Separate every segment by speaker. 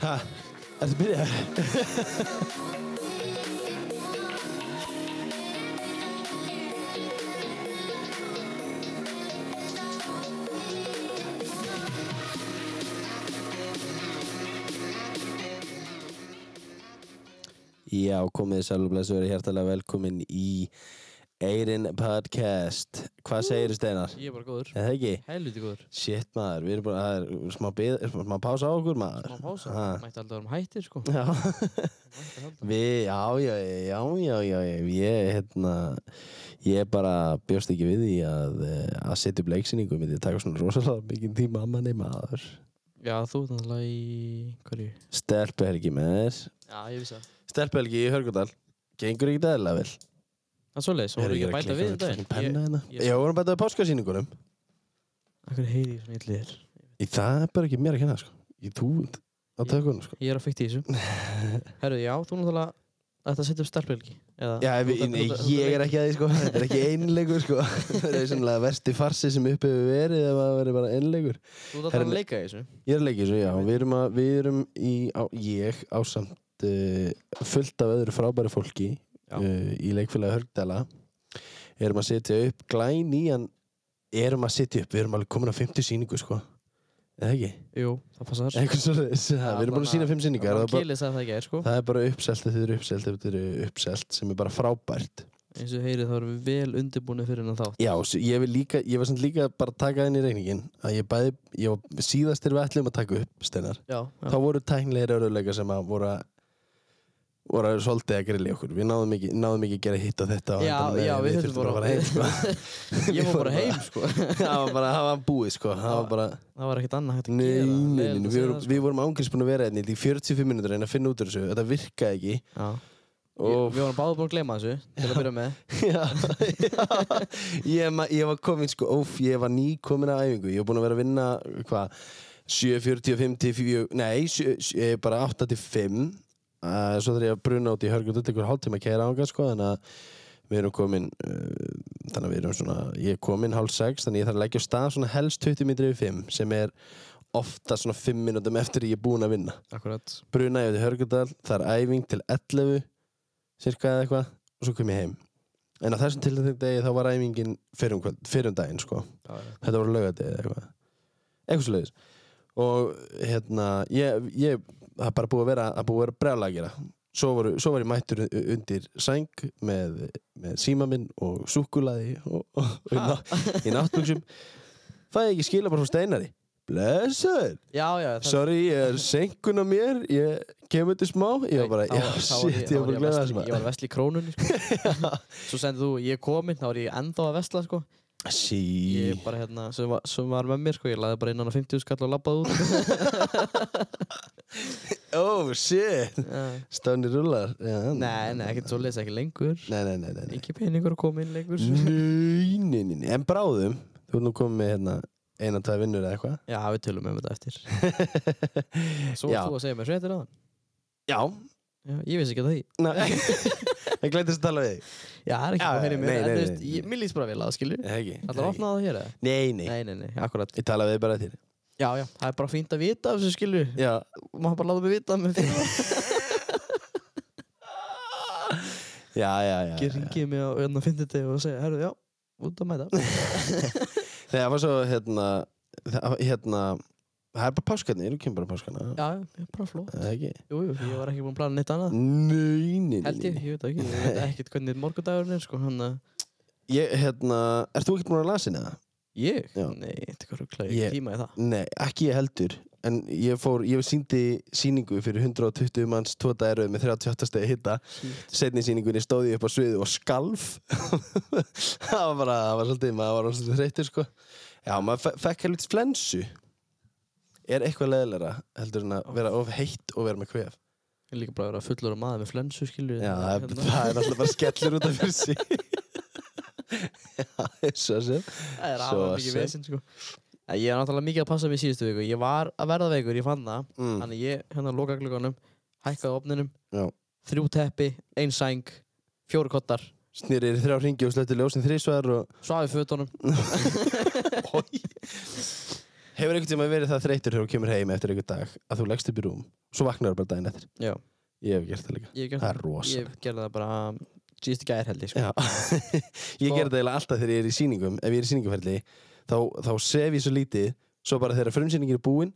Speaker 1: Ha, ertu byrjaður? Já, komið sæl og blessu verið hjertalega velkomin í Eirin Podcast. Hvað segir Steinar?
Speaker 2: Ég er bara góður
Speaker 1: Er það ekki?
Speaker 2: Helviti góður
Speaker 1: Shit maður, við erum bara, það er smá, bið, smá pása á okkur maður.
Speaker 2: Má pása
Speaker 1: Ha.
Speaker 2: Mætti alltaf vera um hættir sko
Speaker 1: Já.
Speaker 2: Mætti alltaf
Speaker 1: Við, já, já, já, já, já, já, ég, hérna, ég bara bjóst ekki við því að, eh, að setja upp leiksýningu myndi taka svona rosalega mikið tíma að manni maður.
Speaker 2: Já þú ert náttúrulega í Hverju?
Speaker 1: Stelpuhelgi með þér.
Speaker 2: Já ég vissi það
Speaker 1: Stelpuhelgi í Hörgudal. Gengur ekki dæðilega vel.
Speaker 2: Það er svoleiðis Það voru ekki að bæta við
Speaker 1: þetta?
Speaker 2: þetta
Speaker 1: Penna hérna.
Speaker 2: ég-
Speaker 1: Já, vorum að bæta við páskasýningunum.
Speaker 2: Akkur heyri ég svona illið þér
Speaker 1: Í það er bara ekki mér að kenna, sko. Í túund á
Speaker 2: Ég-
Speaker 1: tökunum, sko.
Speaker 2: Ég er að fykta í þessu Herru já þú náttúrulega Þetta setja upp starfbelgi Eða
Speaker 1: Já,
Speaker 2: þú
Speaker 1: við,
Speaker 2: ert að-
Speaker 1: nei,
Speaker 2: þú ert að-
Speaker 1: ég er ekki að því sko, þetta er ekki einleikur sko, það er sannlega versti farsi sem upp hefur verið ef að verið bara einleikur.
Speaker 2: Þú ert alltaf
Speaker 1: Herru,
Speaker 2: að leika í þessu
Speaker 1: Ég er að leikið þessu, já. Við erum, að, við erum í, á, ég ásamt uh, fullt af öðru frábæru fólki
Speaker 2: Já.
Speaker 1: uh, í leikfélagi Hörgdala. Erum að setja upp glæn í hann, erum að setja upp, við erum alveg komin á 50 síningu, sko. Eða ekki?
Speaker 2: Jú það passar
Speaker 1: Eitthvað svo leiðis. Við erum búin að sína 5 síningar. Það er, bara,
Speaker 2: Kili sagði það ekki er sko
Speaker 1: það er bara uppselt eftir uppselt eftir uppselt sem er bara frábært.
Speaker 2: Eins og heyrið þá erum við vel undirbúinu fyrir hennan þátt
Speaker 1: Já, s- ég, vil líka, ég var samt líka bara að taka inn í reyningin að ég bæði, ég var síðast þegar við ætlum að taka upp, Steinar.
Speaker 2: Já, já.
Speaker 1: þá voru tæknilegir örðuleika sem að voru að voru að svolítið að grilla í okkur við náðum ekki, náðum ekki að gera hitt á þetta á
Speaker 2: Já,
Speaker 1: endanum,
Speaker 2: já,
Speaker 1: en
Speaker 2: við þurftum
Speaker 1: þurftum bara að
Speaker 2: bara-
Speaker 1: fara heim sko. við
Speaker 2: Ég fór bara
Speaker 1: vorum
Speaker 2: heim sko
Speaker 1: það var bara, það var búið sko það var bara,
Speaker 2: Það var ekkert annað hægt að
Speaker 1: nei,
Speaker 2: gera
Speaker 1: nei,
Speaker 2: Leiðilegt
Speaker 1: nei
Speaker 2: að
Speaker 1: við,
Speaker 2: segja
Speaker 1: vorum,
Speaker 2: það, sko.
Speaker 1: við vorum ángriðs búin að vera hérna í 45 minútur að reyna að finna út úr þessu þetta virkaði ekki
Speaker 2: sko. Já. Ég-
Speaker 1: og
Speaker 2: Við vorum báðið búin að gleyma þessu til að byrja með
Speaker 1: já, já, ég, ma- ég var komin sko, óf, ég var ný komin að æfingu ég var búin að vera að vinna, hvað 7.45 til 4, nei sjö- sjö- eh, bara 8 til 5 uh, svo þarf ég að bruna út í hörg og þetta ykkur hálftíma að kæra ánga sko, þannig að við erum komin uh, þannig að við erum svona, ég er komin hálf 6 þannig að ég þarf að leggja á stað svona helst 20 mítri við 5 sem er ofta svona 5 minútum eftir ég er búin að vinna
Speaker 2: Akkurat
Speaker 1: bruna ég út í Hörgudal, það er æfing til 11 cirka eða eitthvað og svo kom ég heim en á þessum tiltekna degi þá var æfingin fyrrum, kvöld, fyrrum daginn sko þetta voru laugadegi eða eitthvað eitthvað svo leiðis og hérna, ég, ég það er bara búið að vera, það er búið að vera brjála að gera svo, voru, svo var ég mættur u- undir sæng með, með síma minn og súkkulaði og, og, og í, ná, í náttbuxum fæði ekki skila bara frá steinari blessaður
Speaker 2: Já, já það-
Speaker 1: Sorry, ég er senkun á mér, ég kemur til smá Ég var bara,
Speaker 2: Nei, þá-
Speaker 1: já,
Speaker 2: þá var
Speaker 1: shit, ég var bara að
Speaker 2: þá
Speaker 1: gleða
Speaker 2: var Ég
Speaker 1: þessum
Speaker 2: var vesli í krónunni sko. Svo sendið þú, ég er kominn, þá var ég enda að vesla sko.
Speaker 1: Sí,
Speaker 2: Ég bara hérna, sem var, sem var með mér sko. Ég laði bara innan á 50 skall og labbaði út sko.
Speaker 1: oh shit
Speaker 2: Já.
Speaker 1: Stáni rullar já,
Speaker 2: Nei, nei, ekkert svo lesa ekki lengur
Speaker 1: Nei, nei, nei, nei, nei.
Speaker 2: Ekki peningur að koma inn lengur
Speaker 1: Nei, nei, nei, nei, en bráðum Þú er nú komið með hérna eina, tvær vinnur eða eitthvað
Speaker 2: Já, við tölum um þetta eftir Svo
Speaker 1: Já.
Speaker 2: varst þú að segja mér sveitir á
Speaker 1: Já,
Speaker 2: Já, ég vissi ekki að það í
Speaker 1: nei Ég glætist að tala við þig
Speaker 2: Já, það er ekki
Speaker 1: Já,
Speaker 2: bara fyrir mér
Speaker 1: nei,
Speaker 2: en
Speaker 1: nei,
Speaker 2: þú
Speaker 1: nei,
Speaker 2: veist,
Speaker 1: nei.
Speaker 2: ég- Mér líst bara vel að það skilju
Speaker 1: Eða ekki?
Speaker 2: Það er opnað á það hér eða?
Speaker 1: Nei, nei,
Speaker 2: Nei, nei, nei, akkurat
Speaker 1: ég tala við þig bara til
Speaker 2: Já, já, það er bara fínt að vita af þessu skilju
Speaker 1: Já,
Speaker 2: Má bara láta mig vita með fyrir
Speaker 1: já, já, já,
Speaker 2: Ég
Speaker 1: já.
Speaker 2: ringi mig á öðna fynditegi og segja Herru, já, út að mæta
Speaker 1: Nei, það var svo, hérna Það hérna, það er bara páskarnir, þú kemur bara páskana
Speaker 2: Já, já, já, bara fló
Speaker 1: Eða ekki?
Speaker 2: Jú, jú, ég var ekki búinn að plana neitt annað
Speaker 1: Nei, nei, nei,
Speaker 2: Held ég,
Speaker 1: nei.
Speaker 2: ég veit það ekki Ég veit ekkert hvernig morgundagurinn er sko Hann að
Speaker 1: Ég, hérna, ert þú ekkert búin að lasa hérna?
Speaker 2: Ég?
Speaker 1: Já.
Speaker 2: Nei, þetta er ruggla Ég
Speaker 1: Ég-
Speaker 2: tíma í það
Speaker 1: Nei, ekki ég heldur En ég fór, ég síndi síningu fyrir 120 manns tvo dæruð með 38 stegi hitta
Speaker 2: Shit.
Speaker 1: Setni síningunni stóð ég upp á sviðu og skalf Það var bara, það var svolítið, maður var svolítið þreytur sko Já, maður fe fekk helvits flensu Er eitthvað leðilega heldur en að vera of heitt og vera með kvef
Speaker 2: Ég er líka bara að vera fullur af maður með flensu skilju
Speaker 1: Já, það er,
Speaker 2: Hérna,
Speaker 1: það er alltaf bara skellur út af fyrir sig Já, svo sem
Speaker 2: það er
Speaker 1: svo
Speaker 2: alveg mikið
Speaker 1: sem.
Speaker 2: vesinn sko En Ég er náttúrulega mikið að passa mig síðustu viku Ég var að verða veikur, ég fann það
Speaker 1: mm.
Speaker 2: Þannig ég, hérna, loka glugganum Hækkaði á ofninum
Speaker 1: Já.
Speaker 2: Þrjú teppi, ein sæng Fjóru kottar
Speaker 1: snýrir í þrjá ringi og slöttu ljósin þrísvar og
Speaker 2: Svaf í fötunum
Speaker 1: Hefur einhvern tíma verið það þreytur þegar þú kemur heim eftir einhvern dag að þú leggst upp í rúm svo vaknar bara daginn eftir
Speaker 2: Já.
Speaker 1: Ég hef gert það líka
Speaker 2: Ég gerði
Speaker 1: Það er Eh.
Speaker 2: það.
Speaker 1: rosa
Speaker 2: Ég gerði það bara síðustu gær held ég sko.
Speaker 1: Já Ég
Speaker 2: Sko-
Speaker 1: gerði það eiginlega alltaf þegar ég er í sýningum ef ég er í sýninguferli þá, þá sef ég svo lítið svo bara þegar frumsýningin er búin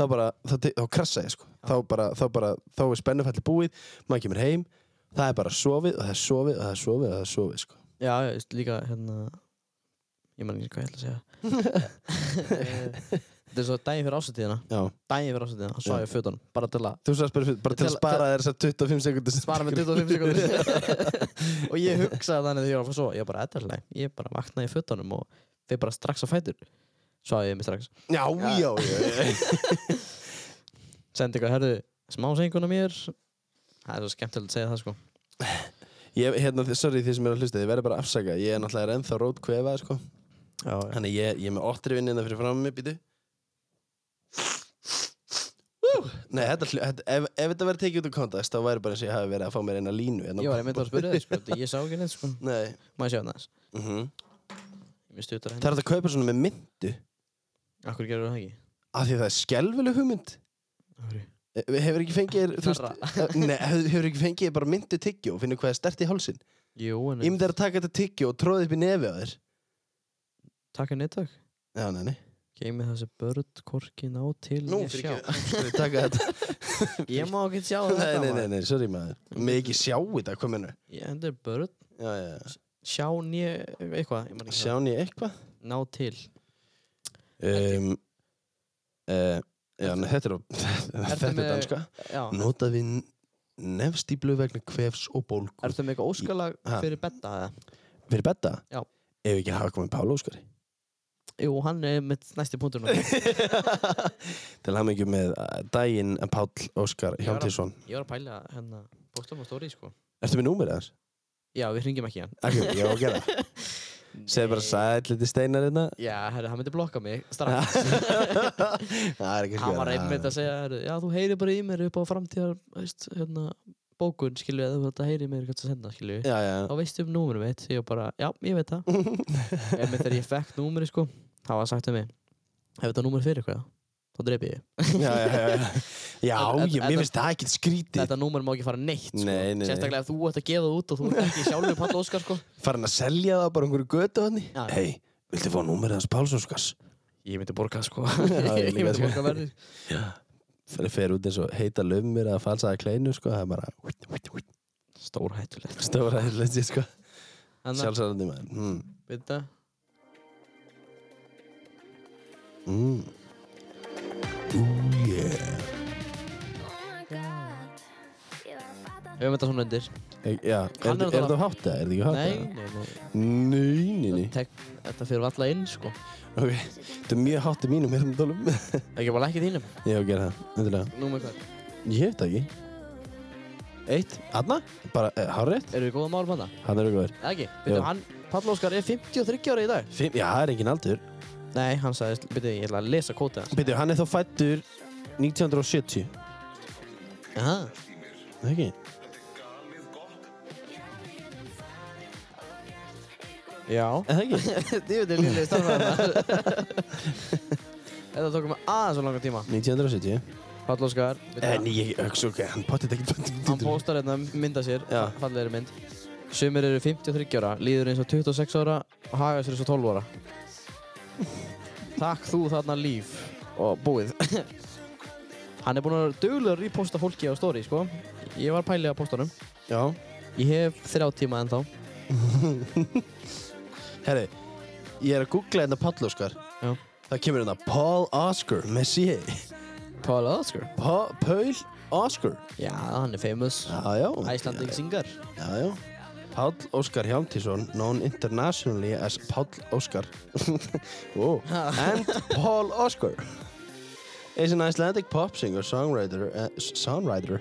Speaker 1: þá bara, þá, te- þá krassa ég sko þá bara, þá bara, þá er spennuferli búið maður kemur heim, það er bara sofið og það er sofið og það er sofið og það er sofið sko
Speaker 2: Já, já, ég veist, líka hérna Ég man ekki hvað ég ætla að segja Eh, Þetta er svo daginn fyrir ásatíðina
Speaker 1: Já,
Speaker 2: Daginn fyrir ásatíðina, svo
Speaker 1: Já.
Speaker 2: ég fötunum Bara til að
Speaker 1: þú svo bara, fyrir- bara til að
Speaker 2: Til-
Speaker 1: spara þér þessar 25 sekundur
Speaker 2: svara með 25 sekundur Og ég hugsaði þannig þegar ég var að fá svo Ég bara, þetta er leið, ég bara vaknaði í fötunum Og þeir bara strax á fætur Svo ég mig strax
Speaker 1: Já, já, já, já.
Speaker 2: Sendi eitthvað, herðu, smá senguna mér Það er svo skemmtilegt að segja það sko
Speaker 1: Ég, hérna, þið- sorry því sem er að hlusta, þið verður bara að afsaka Ég er náttúrulega ennþá rót kvefa, sko
Speaker 2: Já, já
Speaker 1: Þannig ég, ég er með óttrifinn innan fyrir fram mig, býtu Nei, þetta, hlu- þetta, ef, ef þetta verður tekið út úr kontekst þá væri bara eins og ég hafi verið að fá mér eina línu hérna.
Speaker 2: Ég var einmitt að spyrja þig, sko, því ég sá ekki neitt, sko.
Speaker 1: Nei
Speaker 2: Má ég sjá það?
Speaker 1: mm
Speaker 2: Ég misti út af
Speaker 1: Það
Speaker 2: henni.
Speaker 1: er hægt að kaupa svona með myndu
Speaker 2: Akkur gerur það ekki?
Speaker 1: af því að það er skelfileg hugmynd
Speaker 2: Akkur.
Speaker 1: Eh, Hefur ekki fengið þér, þú
Speaker 2: Hnerra.
Speaker 1: veist eh, Nei, hefur hefur ekki fengið þér bara myndu tyggjó og finnir hvað er stert í hálsin
Speaker 2: Jú, en
Speaker 1: Ég myndi þér að taka þetta tyggjó og tróða upp í nefi á þér
Speaker 2: takk er neittak.
Speaker 1: Já, nei, nei
Speaker 2: Geimi þessi börn korki ná til
Speaker 1: Nú,
Speaker 2: ég
Speaker 1: fyrir
Speaker 2: sjá.
Speaker 1: ekki Taka þetta
Speaker 2: Ég má ekki sjá þetta,
Speaker 1: Nei, nei, nei,
Speaker 2: maður.
Speaker 1: nei, sorry maður Með ekki sjá þetta, hvað mennur
Speaker 2: Ég endur börn,
Speaker 1: Já, já, já
Speaker 2: sjá nýja, eitthvað, ég man ekki
Speaker 1: Sjá nýja eitthvað
Speaker 2: það. Ná til.
Speaker 1: um, uh, Já, nei, þetta er á- þetta er
Speaker 2: með-
Speaker 1: danska
Speaker 2: Já.
Speaker 1: Notað við nefstíblu vegna kvefs og bólgu
Speaker 2: Ertu með eitthvað óskalag
Speaker 1: Ha.
Speaker 2: fyrir betta það?
Speaker 1: Fyrir betta?
Speaker 2: Já.
Speaker 1: Ef ekki hafa komið Pála Óskari
Speaker 2: Jú, hann er mitt næsti punktur núna.
Speaker 1: Til hann ekki með eh, daginn en Pál Óskar
Speaker 2: Já,
Speaker 1: Hjálmtísson
Speaker 2: Ég var að pæla hérna, bóstum á stóri, sko.
Speaker 1: Ertu með númerið þess?
Speaker 2: Já, við hringjum ekki í hann.
Speaker 1: Ekki, ég á að gera það. Segðu bara
Speaker 2: Nei.
Speaker 1: sæll liti steinar hérna
Speaker 2: Já, herri, hann myndi blokka mig strax.
Speaker 1: Það er ekki
Speaker 2: hann var einmitt að segja heyrðu, já þú heyrir bara í mér upp á framtíðar veist, hérna, bókun skilju eða þú þetta heyrir í mér hvað það senda skilju
Speaker 1: Já, já
Speaker 2: þá veistu um númurum mitt ég var bara já ég veit það einmitt þegar ég fekk númuri sko þá var sagt um mig ef þetta númur fyrir eitthvað þá drep ég þig.
Speaker 1: Já, já, já, já. já
Speaker 2: En- en-
Speaker 1: ég, mér finnst það ekkert skrítið
Speaker 2: þetta númur má ekki fara neitt sko.
Speaker 1: Nei, nei, nei.
Speaker 2: sérstaklega ef þú ert að gefa það út og þú ert ekki sjálfur palla Óskar sko
Speaker 1: Farin að selja það bara einhverju götu hann
Speaker 2: Já.
Speaker 1: Hei, viltu fá númerið hans sko, Páls Óskars?
Speaker 2: ég myndi borga sko
Speaker 1: ég líka,
Speaker 2: ég myndi
Speaker 1: sko.
Speaker 2: borga verði
Speaker 1: Fer, fer út eins og heita löfumir að falsaða kleinu sko Það er bara
Speaker 2: stór hættulegt
Speaker 1: Stóra hérlega sko
Speaker 2: þannig að
Speaker 1: Sjálfsælandi maður mm.
Speaker 2: veit það
Speaker 1: Mm. Ooh yeah
Speaker 2: ef við þetta svona undir
Speaker 1: Ég- Já, er
Speaker 2: Hann er
Speaker 1: þetta- er
Speaker 2: náttúrulega-
Speaker 1: þetta hátt eða? Er þetta ekki hátt
Speaker 2: nei
Speaker 1: eða?
Speaker 2: nei nei
Speaker 1: Nei, nei, nei
Speaker 2: Tek, þetta fyrir alla inn sko
Speaker 1: Ok, þetta er mjög hátt í mínum hérna tólum
Speaker 2: ekki bara ekki þínum
Speaker 1: Ég á að gera það, endilega
Speaker 2: Nú með hvað?
Speaker 1: Ég hef það ekki Eitt, Anna, bara, eh, hárétt
Speaker 2: Erum við góða málum hann það?
Speaker 1: Hann er góður
Speaker 2: Eða ekki? Býtum,
Speaker 1: Jú.
Speaker 2: hann, Pall Óskar er 53 ára í dag.
Speaker 1: Fimm, já, það er engin aldur
Speaker 2: Nei, hann sagði, býtum, ég ætla að lesa kótið hans.
Speaker 1: Býtu, hann er þá fættur 1970
Speaker 2: Aha.
Speaker 1: Það ekki?
Speaker 2: Já.
Speaker 1: Er Það ekki?
Speaker 2: Þið veit ég lillið starfað hann. Þetta tók mig aðeins og langa tíma.
Speaker 1: 1970
Speaker 2: Pall Óskar,
Speaker 1: En
Speaker 2: býtum,
Speaker 1: ég, hugsa, ok, hann potið ekki
Speaker 2: hann póstar hérna mynda sér,
Speaker 1: Já.
Speaker 2: fallegri mynd. Sumir eru 53 ára, líður eins og 26 ára og haga sér eins og 12 ára. Takk þú þarna líf og búið. hann er búinn að duglega reposta fólki á story, sko. Ég var pælið að posta honum.
Speaker 1: Já
Speaker 2: Ég hef þrjá tíma ennþá.
Speaker 1: Herri, ég er að googla hérna Páll Óskar
Speaker 2: Já.
Speaker 1: Það kemur hérna Paul Oscar með C
Speaker 2: Paul Oscar?
Speaker 1: Pa- Paul Oscar
Speaker 2: Já, hann er famous.
Speaker 1: Já, já
Speaker 2: Icelandic singer.
Speaker 1: Já, já. Páll Óskar Hjálmtísson, known internationally as Páll Óskar oh. and Paul Óskar is an Icelandic pop singer, songwriter, uh, s- songwriter,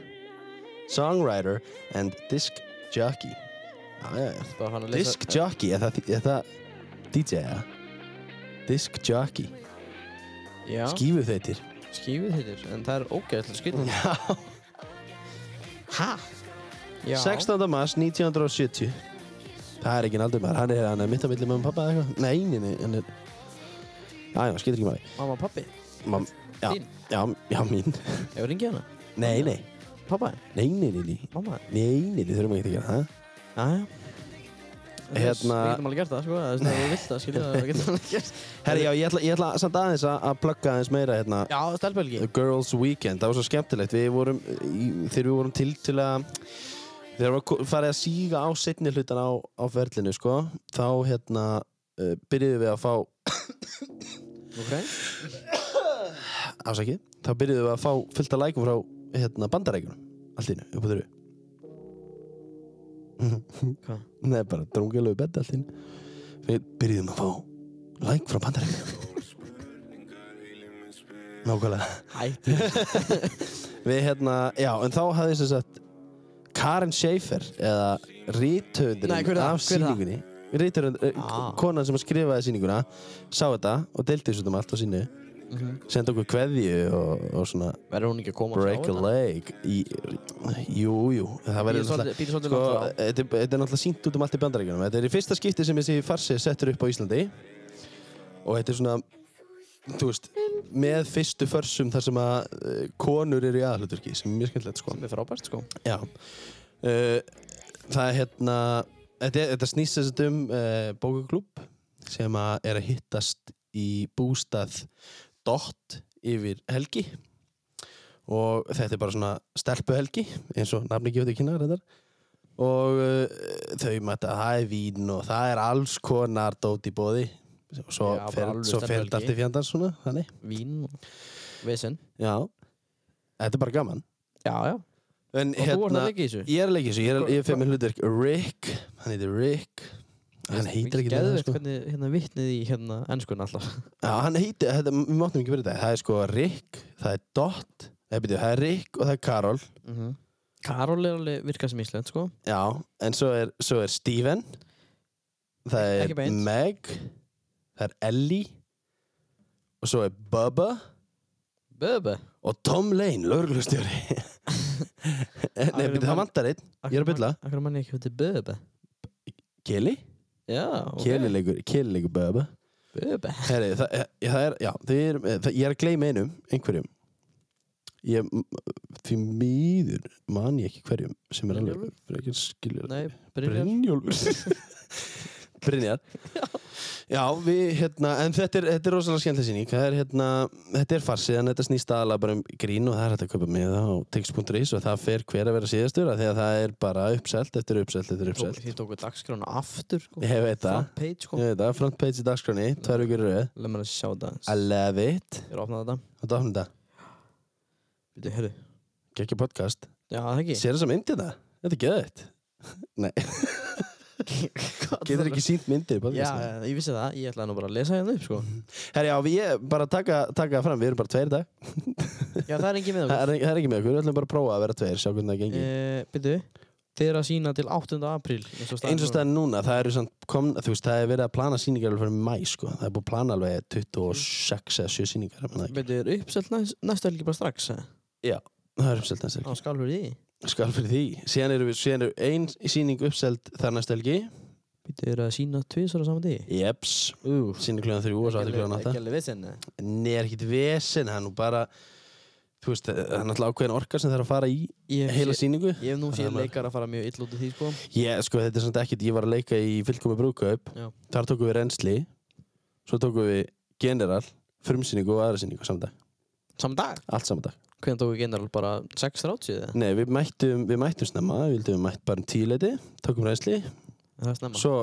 Speaker 1: songwriter and disc jockey. Já, já, já.
Speaker 2: Bara hann að lesa...
Speaker 1: Disc jockey, er það, er það DJ, ja? Disc jockey,
Speaker 2: Já,
Speaker 1: skífu þeitir.
Speaker 2: skífið hittir. En það er ógæðslega skritin.
Speaker 1: Já.
Speaker 2: Hæ? Já.
Speaker 1: 16. mars 1970 Það er ekki aldur maður, hann er, hann er mitt á milli mamma og pappa eða eitthvað Nei, nei, nei, hann er já, já, skilur ekki máli
Speaker 2: Mamma og pappi
Speaker 1: Mam, já,
Speaker 2: Þín?
Speaker 1: já, já, mín
Speaker 2: Hefur ringið hana?
Speaker 1: Nei, nei,
Speaker 2: Pappa?
Speaker 1: nei, nei, nei Nei,
Speaker 2: Mamma?
Speaker 1: nei, nei, nei þurfum ekki að gera það
Speaker 2: Jæja
Speaker 1: Hérna-
Speaker 2: Við getum alveg gert það sko Það er það við vilt það skilja það Við getum alveg gert
Speaker 1: Herri, já, ég ætla, ég ætla samt aðeins að- að plugga aðeins meira hérna
Speaker 2: Já, stelpelgi
Speaker 1: The Girls Weekend, það var svo skemmtilegt við vorum, í, þegar við vorum til til að þegar við ko- farið að síga á setni hlutan á, á ferlinu sko, þá hérna uh, byrjuðum við að fá
Speaker 2: Ok
Speaker 1: afsakið, þá byrjuðum við að fá fullt að lækum frá hérna bandarækjunum allt innu, upp á þurru
Speaker 2: Hvað?
Speaker 1: Nei, bara drungalegu betta allt innu Við byrjuðum að fá læk frá bandarækjunum Nákvæmlega
Speaker 2: Hætti
Speaker 1: Við hérna, já, en þá hafði sem sagt Karen Schaefer eða
Speaker 2: Nei, hver er
Speaker 1: ríttöfundurinn af
Speaker 2: það? Hver er það?
Speaker 1: sýningunni ríttöfund,
Speaker 2: Ah.
Speaker 1: ah. konan sem skrifaði sýninguna sá þetta og deildi þessu um allt á sínu
Speaker 2: Mhm.
Speaker 1: sendi okkur kveðju og, og svona
Speaker 2: Verður hún ekki að koma
Speaker 1: break a leg í, jú, jú það verður náttúrulega
Speaker 2: Býr svolítið
Speaker 1: sko,
Speaker 2: náttúrulega á
Speaker 1: þetta er, þetta er náttúrulega sínt út um allt í bandaríkjunum þetta er í fyrsta skipti sem þessi farsi er settur upp á Íslandi og þetta er svona þú veist, með fyrstu försum þar sem að uh, konur eru í aðhluturki sem er mjög skemmtilegt sko
Speaker 2: Sem er frábært sko
Speaker 1: Já. Uh, það er hérna þetta, er- þetta snýst þess að um uh, bókaklúb sem að er að hittast í bústað dott yfir helgi og þetta er bara svona stelpuhelgi eins og nafni gefur þau kynna reyndar og uh, þau mæta það er vín og það er alls konar dót í bóði og svo
Speaker 2: Já, bara
Speaker 1: fer,
Speaker 2: alveg
Speaker 1: svo fer
Speaker 2: stelpuhelgi.
Speaker 1: þetta allt í fjandar svona þannig,
Speaker 2: Vín og Vesen
Speaker 1: já þetta er bara gaman
Speaker 2: Já, já Og
Speaker 1: en hérna-
Speaker 2: þú voru það ekki í þessu
Speaker 1: Ég er að leika í þessu, ég, er- ég fyrir með hlutverk Rick, hann heitir Rick Hann heitir ekki
Speaker 2: það
Speaker 1: það
Speaker 2: sko
Speaker 1: sko.
Speaker 2: Hvernig hérna vitnið í hérna ennskun alltaf
Speaker 1: Já, hann heitir, þetta, við máttum ekki verið þetta Það er sko Rick, það er Dot Nei, byrju, það er Rick og það er Karol Mhm.
Speaker 2: Karol er alveg virkað sem íslenskt sko
Speaker 1: Já, en svo er, svo er Steven Það
Speaker 2: Ekki
Speaker 1: er
Speaker 2: beint.
Speaker 1: Meg Það er Ellie Og svo er Bubba
Speaker 2: Böbe
Speaker 1: Og Tom Lane, lögreglustjóri Nei,
Speaker 2: eru
Speaker 1: byrju,
Speaker 2: menn-
Speaker 1: það vantar einn Ég er að bulla.
Speaker 2: Akkur manni ekki hvað þetta Böbe
Speaker 1: Kelly,
Speaker 2: Já,
Speaker 1: Kelly
Speaker 2: ok
Speaker 1: leikur, Kelly leikur Bubba
Speaker 2: Böbe
Speaker 1: Heri, það, eh, það er, já, þið er, það, ég er að gleyma einum, einhverjum ég, m- því mýður man ég ekki hverjum sem er alveg
Speaker 2: Brynjólfur?
Speaker 1: frekar skilur
Speaker 2: Nei, Brynjar
Speaker 1: Brynjólfur Brynjar Já, við, hérna, en þetta er, þetta er rosalega skemmtileg sýning það er, hérna, þetta er farsið en þetta snýst aðalega bara um grín og það er hægt að kaupa með það á tix.is og það fer hver að vera síðastur af því að það er bara uppselt eftir uppselt eftir
Speaker 2: Tók-
Speaker 1: uppselt
Speaker 2: Þið tóku dagskrána aftur sko.
Speaker 1: Ég veit það,
Speaker 2: Front page sko
Speaker 1: ég veit það, front page í dagskránni tvær vikur í röð,
Speaker 2: Leð mér að sjá þetta
Speaker 1: I love it
Speaker 2: Ég er að opna þetta
Speaker 1: Þetta opnum þetta.
Speaker 2: Býtu, heyrðu
Speaker 1: Gekki podcast.
Speaker 2: Já, það ekki
Speaker 1: Sér þess að myndi þetta? Þetta er geðvægt. Getur ekki sínt myndir í
Speaker 2: Já,
Speaker 1: podcastinu.
Speaker 2: ég vissi það Ég ætlaði nú bara að lesa hérna upp sko
Speaker 1: Herri, já, við ég bara taka, taka það fram. Við erum bara tveir í dag.
Speaker 2: Já, það er engin með
Speaker 1: Það
Speaker 2: okkur
Speaker 1: er, það er ekki með okkur. Við ætlum bara að prófa að vera tveir, sjá hvernig það gengir.
Speaker 2: Eh, Býtu Þið eru að sína til 8. apríl Eins og
Speaker 1: Eins og staðan núna, það eru samt komna, þú veist, það er verið að plana sýningar alveg fyrir mæ, sko. Það er búið að plana alveg 26 eða 7 sýningar. ég man það ekki.
Speaker 2: Býtu, er uppselt næst, næstu helgi bara strax eh?
Speaker 1: Það er uppselt næst
Speaker 2: Á
Speaker 1: helgi.
Speaker 2: skálfur í
Speaker 1: Skal fyrir því. Síðan eru, við- síðan eru ein sýning uppselt þar næst helgi.
Speaker 2: Býtu, eru að sína tvisar á saman dí
Speaker 1: Jeps.
Speaker 2: Ú
Speaker 1: Sýning kljóðan þrjú og svo aftur kljóðan átta.
Speaker 2: Ekki alveg eh. vissin
Speaker 1: Nei, er ekkert vesen, það er nú bara þú veist, það er náttúrulega ákveðin orka sem þarf að fara í
Speaker 2: Ég hef
Speaker 1: heila
Speaker 2: sé-
Speaker 1: sýningu
Speaker 2: ég hef nú
Speaker 1: Það er
Speaker 2: séð
Speaker 1: maður.
Speaker 2: leikar að fara mjög ill út af því sko
Speaker 1: ég, sko, þetta er samt ekkert, ég var að leika í fylgkomi brúkaup,
Speaker 2: Já.
Speaker 1: þar tókum við reynsli svo tókum við general frumsýningu og aðra sýningu saman dag
Speaker 2: Saman dag
Speaker 1: allt saman dag,
Speaker 2: Hvernig tóku general bara 6.30 eða?
Speaker 1: nei, við mættum við mættum snemma, við vildum við mætt bara um tíuleiti tókum reynsli,
Speaker 2: Það er snemma
Speaker 1: svo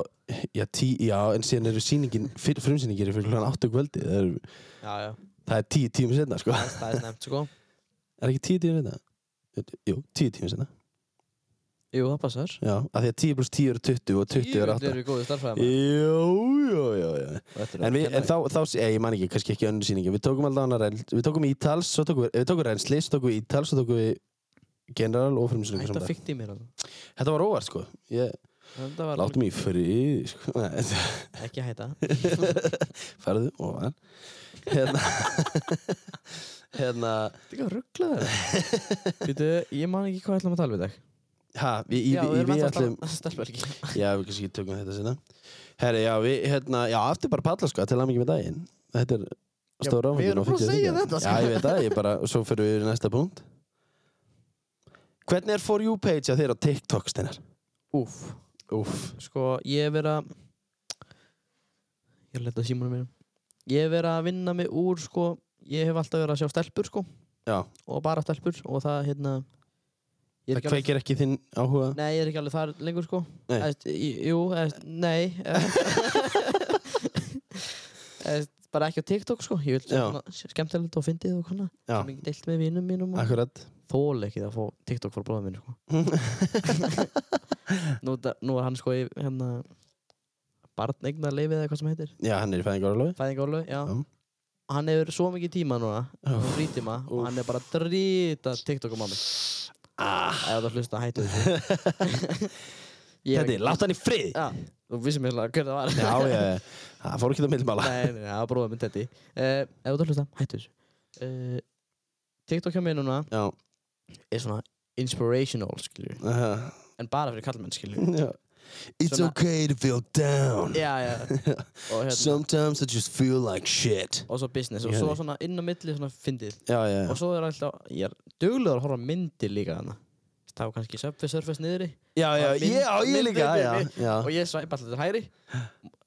Speaker 1: já, tí, já, en síðan eru sýningin, fyr, frumsýningir fyrir klokkan 8 kvöldi, það er,
Speaker 2: Já, já,
Speaker 1: það er tíu tíma setna, sko,
Speaker 2: það er- það er snemmt sko
Speaker 1: er ekki tíu tíma setna jú, tíu tíma setna
Speaker 2: Jú, það passar
Speaker 1: Já, af því að 10 pluss 10 eru 20 og 20 eru 8
Speaker 2: Jú, þeir eru góði starfæðar
Speaker 1: Jú, jú, jú, jú En,
Speaker 2: hérna
Speaker 1: við, en þá, þá ég, ég man ekki, kannski ekki önnur sýningi Við tókum alltaf hana reynd, við tókum Ítals svo tókum við, við tókum reynsli, svo tókum við Ítals svo tókum við General og frumsýningu
Speaker 2: Þetta
Speaker 1: saman dag
Speaker 2: fyrkt í mér þarna.
Speaker 1: Þetta var óvart, sko ég,
Speaker 2: Þetta var
Speaker 1: Látum í frið, sko Nei,
Speaker 2: ekki hætta
Speaker 1: Farðu, ofan Hérna Hérna
Speaker 2: Þetta er ekki að ruggla þér Býtu, ég man ekki hvað ætlum að tala við dag
Speaker 1: Ha, við, í, í, við
Speaker 2: um
Speaker 1: ætlum
Speaker 2: Stelbergi
Speaker 1: Já, við kannski tökum þetta sinna Herri, já, við, hérna, já, aftur bara palla, sko, til að mikið með daginn þetta er
Speaker 2: Já,
Speaker 1: stóra áfangin
Speaker 2: við erum búin að segja
Speaker 1: Já,
Speaker 2: þetta, sko.
Speaker 1: ég veit það, ég bara, og svo fyrir við í næsta punkt Hvernig er For You page að þér á TikTok, Steinar?
Speaker 2: Úf,
Speaker 1: Úff,
Speaker 2: sko, ég er verið að Ég er að leta símanum mér Ég er verið að vinna mig úr, sko Ég hef alltaf verið að sjá stelpur, sko
Speaker 1: já,
Speaker 2: Og bara stelpur Og það, hérna
Speaker 1: það
Speaker 2: Ég er ekki alveg
Speaker 1: kveikir ekki þinn áhuga
Speaker 2: Nei, ég er ekki alveg þar lengur, sko
Speaker 1: Nei.
Speaker 2: Eðst, Jú, eðst, nei eðst, Bara ekki á TikTok, sko Ég vil
Speaker 1: Já.
Speaker 2: svona skemmtilegt og fyndið og svona
Speaker 1: Já.
Speaker 2: Sem ég deilt með vinum mínum og...
Speaker 1: Akkurat
Speaker 2: Þól ekki að fá TikTok frá bróðum minn, sko nú, da- nú er hann sko í hérna barnegna leifið eða hvað sem heitir
Speaker 1: Já, hann er í fæðingarólöfi
Speaker 2: fæðingarólöfi, já
Speaker 1: Já.
Speaker 2: og hann hefur svo mikið tíma núna og frítíma og hann er bara að drýta TikTok á mammi ah. eða það hlusta hættu þessu Ég hef
Speaker 1: Þetta er, látt hann í frið
Speaker 2: ekki- já, þú vissir mér hver það var
Speaker 1: Já, ég, það fór ekki það millmála
Speaker 2: nei, nei, nei, það var bróðið minn Teddy uh, eða það hlusta, hættu þessu uh, TikTok hjá mér núna
Speaker 1: Já,
Speaker 2: er svona inspirational skilju
Speaker 1: aha,
Speaker 2: en bara fyrir kallmenn skilju
Speaker 1: já It's
Speaker 2: Svona-
Speaker 1: okay to feel down
Speaker 2: já, já og hérna
Speaker 1: Sometimes I just feel like shit
Speaker 2: og svo business og
Speaker 1: Ég
Speaker 2: svo
Speaker 1: hefði.
Speaker 2: svona inn á milli svona fyndið
Speaker 1: Já, já, já
Speaker 2: og svo er alltaf, ég er duglegur að horfa á myndir líka þarna það var kannski Subway Surface niðri
Speaker 1: Já, já,
Speaker 2: Bara mynd-
Speaker 1: ég, já, ég
Speaker 2: mynd-
Speaker 1: líka, já,
Speaker 2: mynd-
Speaker 1: já.
Speaker 2: og ég svæpa alltaf til hægri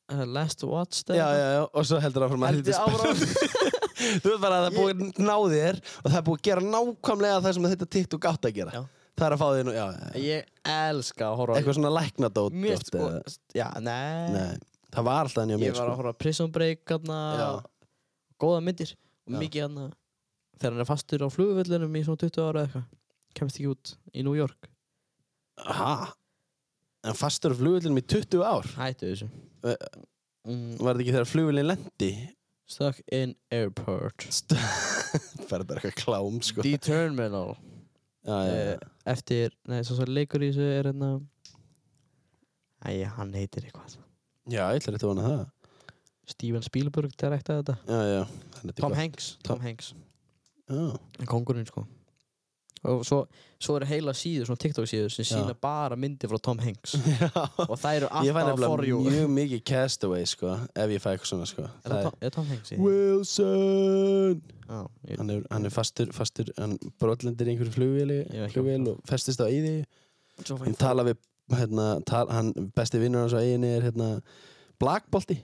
Speaker 2: Uh, last watch
Speaker 1: Já, já, já, og svo heldur áfram að
Speaker 2: Heldur
Speaker 1: heldur
Speaker 2: áfram.
Speaker 1: Þú veit bara að það er búið að ná þér og það er búið að gera nákvæmlega það sem þetta TikTok átt að gera
Speaker 2: Já.
Speaker 1: Það er að fá þér nú, já, já,
Speaker 2: ég elska að horfa á-
Speaker 1: eitthvað svona læknadót
Speaker 2: mér
Speaker 1: oft,
Speaker 2: sko,
Speaker 1: eða-
Speaker 2: já, nei,
Speaker 1: Nei, það var alltaf henni á
Speaker 2: ég
Speaker 1: mér
Speaker 2: var að
Speaker 1: sko.
Speaker 2: horfa á Prison Break hana,
Speaker 1: Já.
Speaker 2: góða myndir og
Speaker 1: Já.
Speaker 2: mikið hana þegar hann er fastur á flugvöllunum í svona 20 ára eða eitthvað kemst ekki út í New York
Speaker 1: Aha, en fastur á flugvölinum í 20 ár
Speaker 2: hættu þessu
Speaker 1: Eh,
Speaker 2: mm,
Speaker 1: Var þetta ekki þegar flugvölin lendi?
Speaker 2: stuck in airport
Speaker 1: Færði bara eitthvað klám, sko
Speaker 2: The Terminal
Speaker 1: Já, já, já.
Speaker 2: Eh, eftir, nei, svo svo leikur í þessu er hérna Æ, hann heitir eitthvað
Speaker 1: já, ég ætlar þetta vona það
Speaker 2: Steven Spielberg direkta þetta
Speaker 1: Já, já, hann er
Speaker 2: Tom Hanks Tom Hanks
Speaker 1: Já,
Speaker 2: Kongurinn, sko og svo, svo eru heila síður, svona TikTok síður sem
Speaker 1: Já.
Speaker 2: sína bara myndir frá Tom Hanks
Speaker 1: já
Speaker 2: og það eru
Speaker 1: Ég fæ
Speaker 2: alltaf á for
Speaker 1: nefnilega
Speaker 2: you
Speaker 1: mjög mikið castaway sko, ef ég fæ eitthvað svona sko.
Speaker 2: Er það Tom, er Tom Hanks í því?
Speaker 1: Wilson
Speaker 2: Já, ég,
Speaker 1: hann er, hann er fastur, fastur hann brotlendir í einhverju flugvéli
Speaker 2: Ég veit ekki
Speaker 1: flugvél og festist á eyði
Speaker 2: svo fæ
Speaker 1: hann tala við hérna, tal, hann, besti vinnur hans á eyðinni er hérna, blakbolti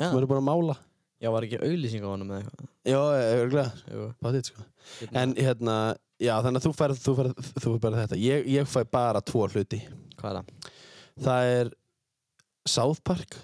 Speaker 2: Já.
Speaker 1: sem eru búin að mála
Speaker 2: Já, var ekki auðlýsing á honum eða eitthvað
Speaker 1: Ah. já, örgulega,
Speaker 2: Jú.
Speaker 1: bátið sko. en hérna, já, þannig að þú færð þú færð, þú færð bara þetta ég, ég fæ bara tvo hluti
Speaker 2: Hvað er það?
Speaker 1: það er South Park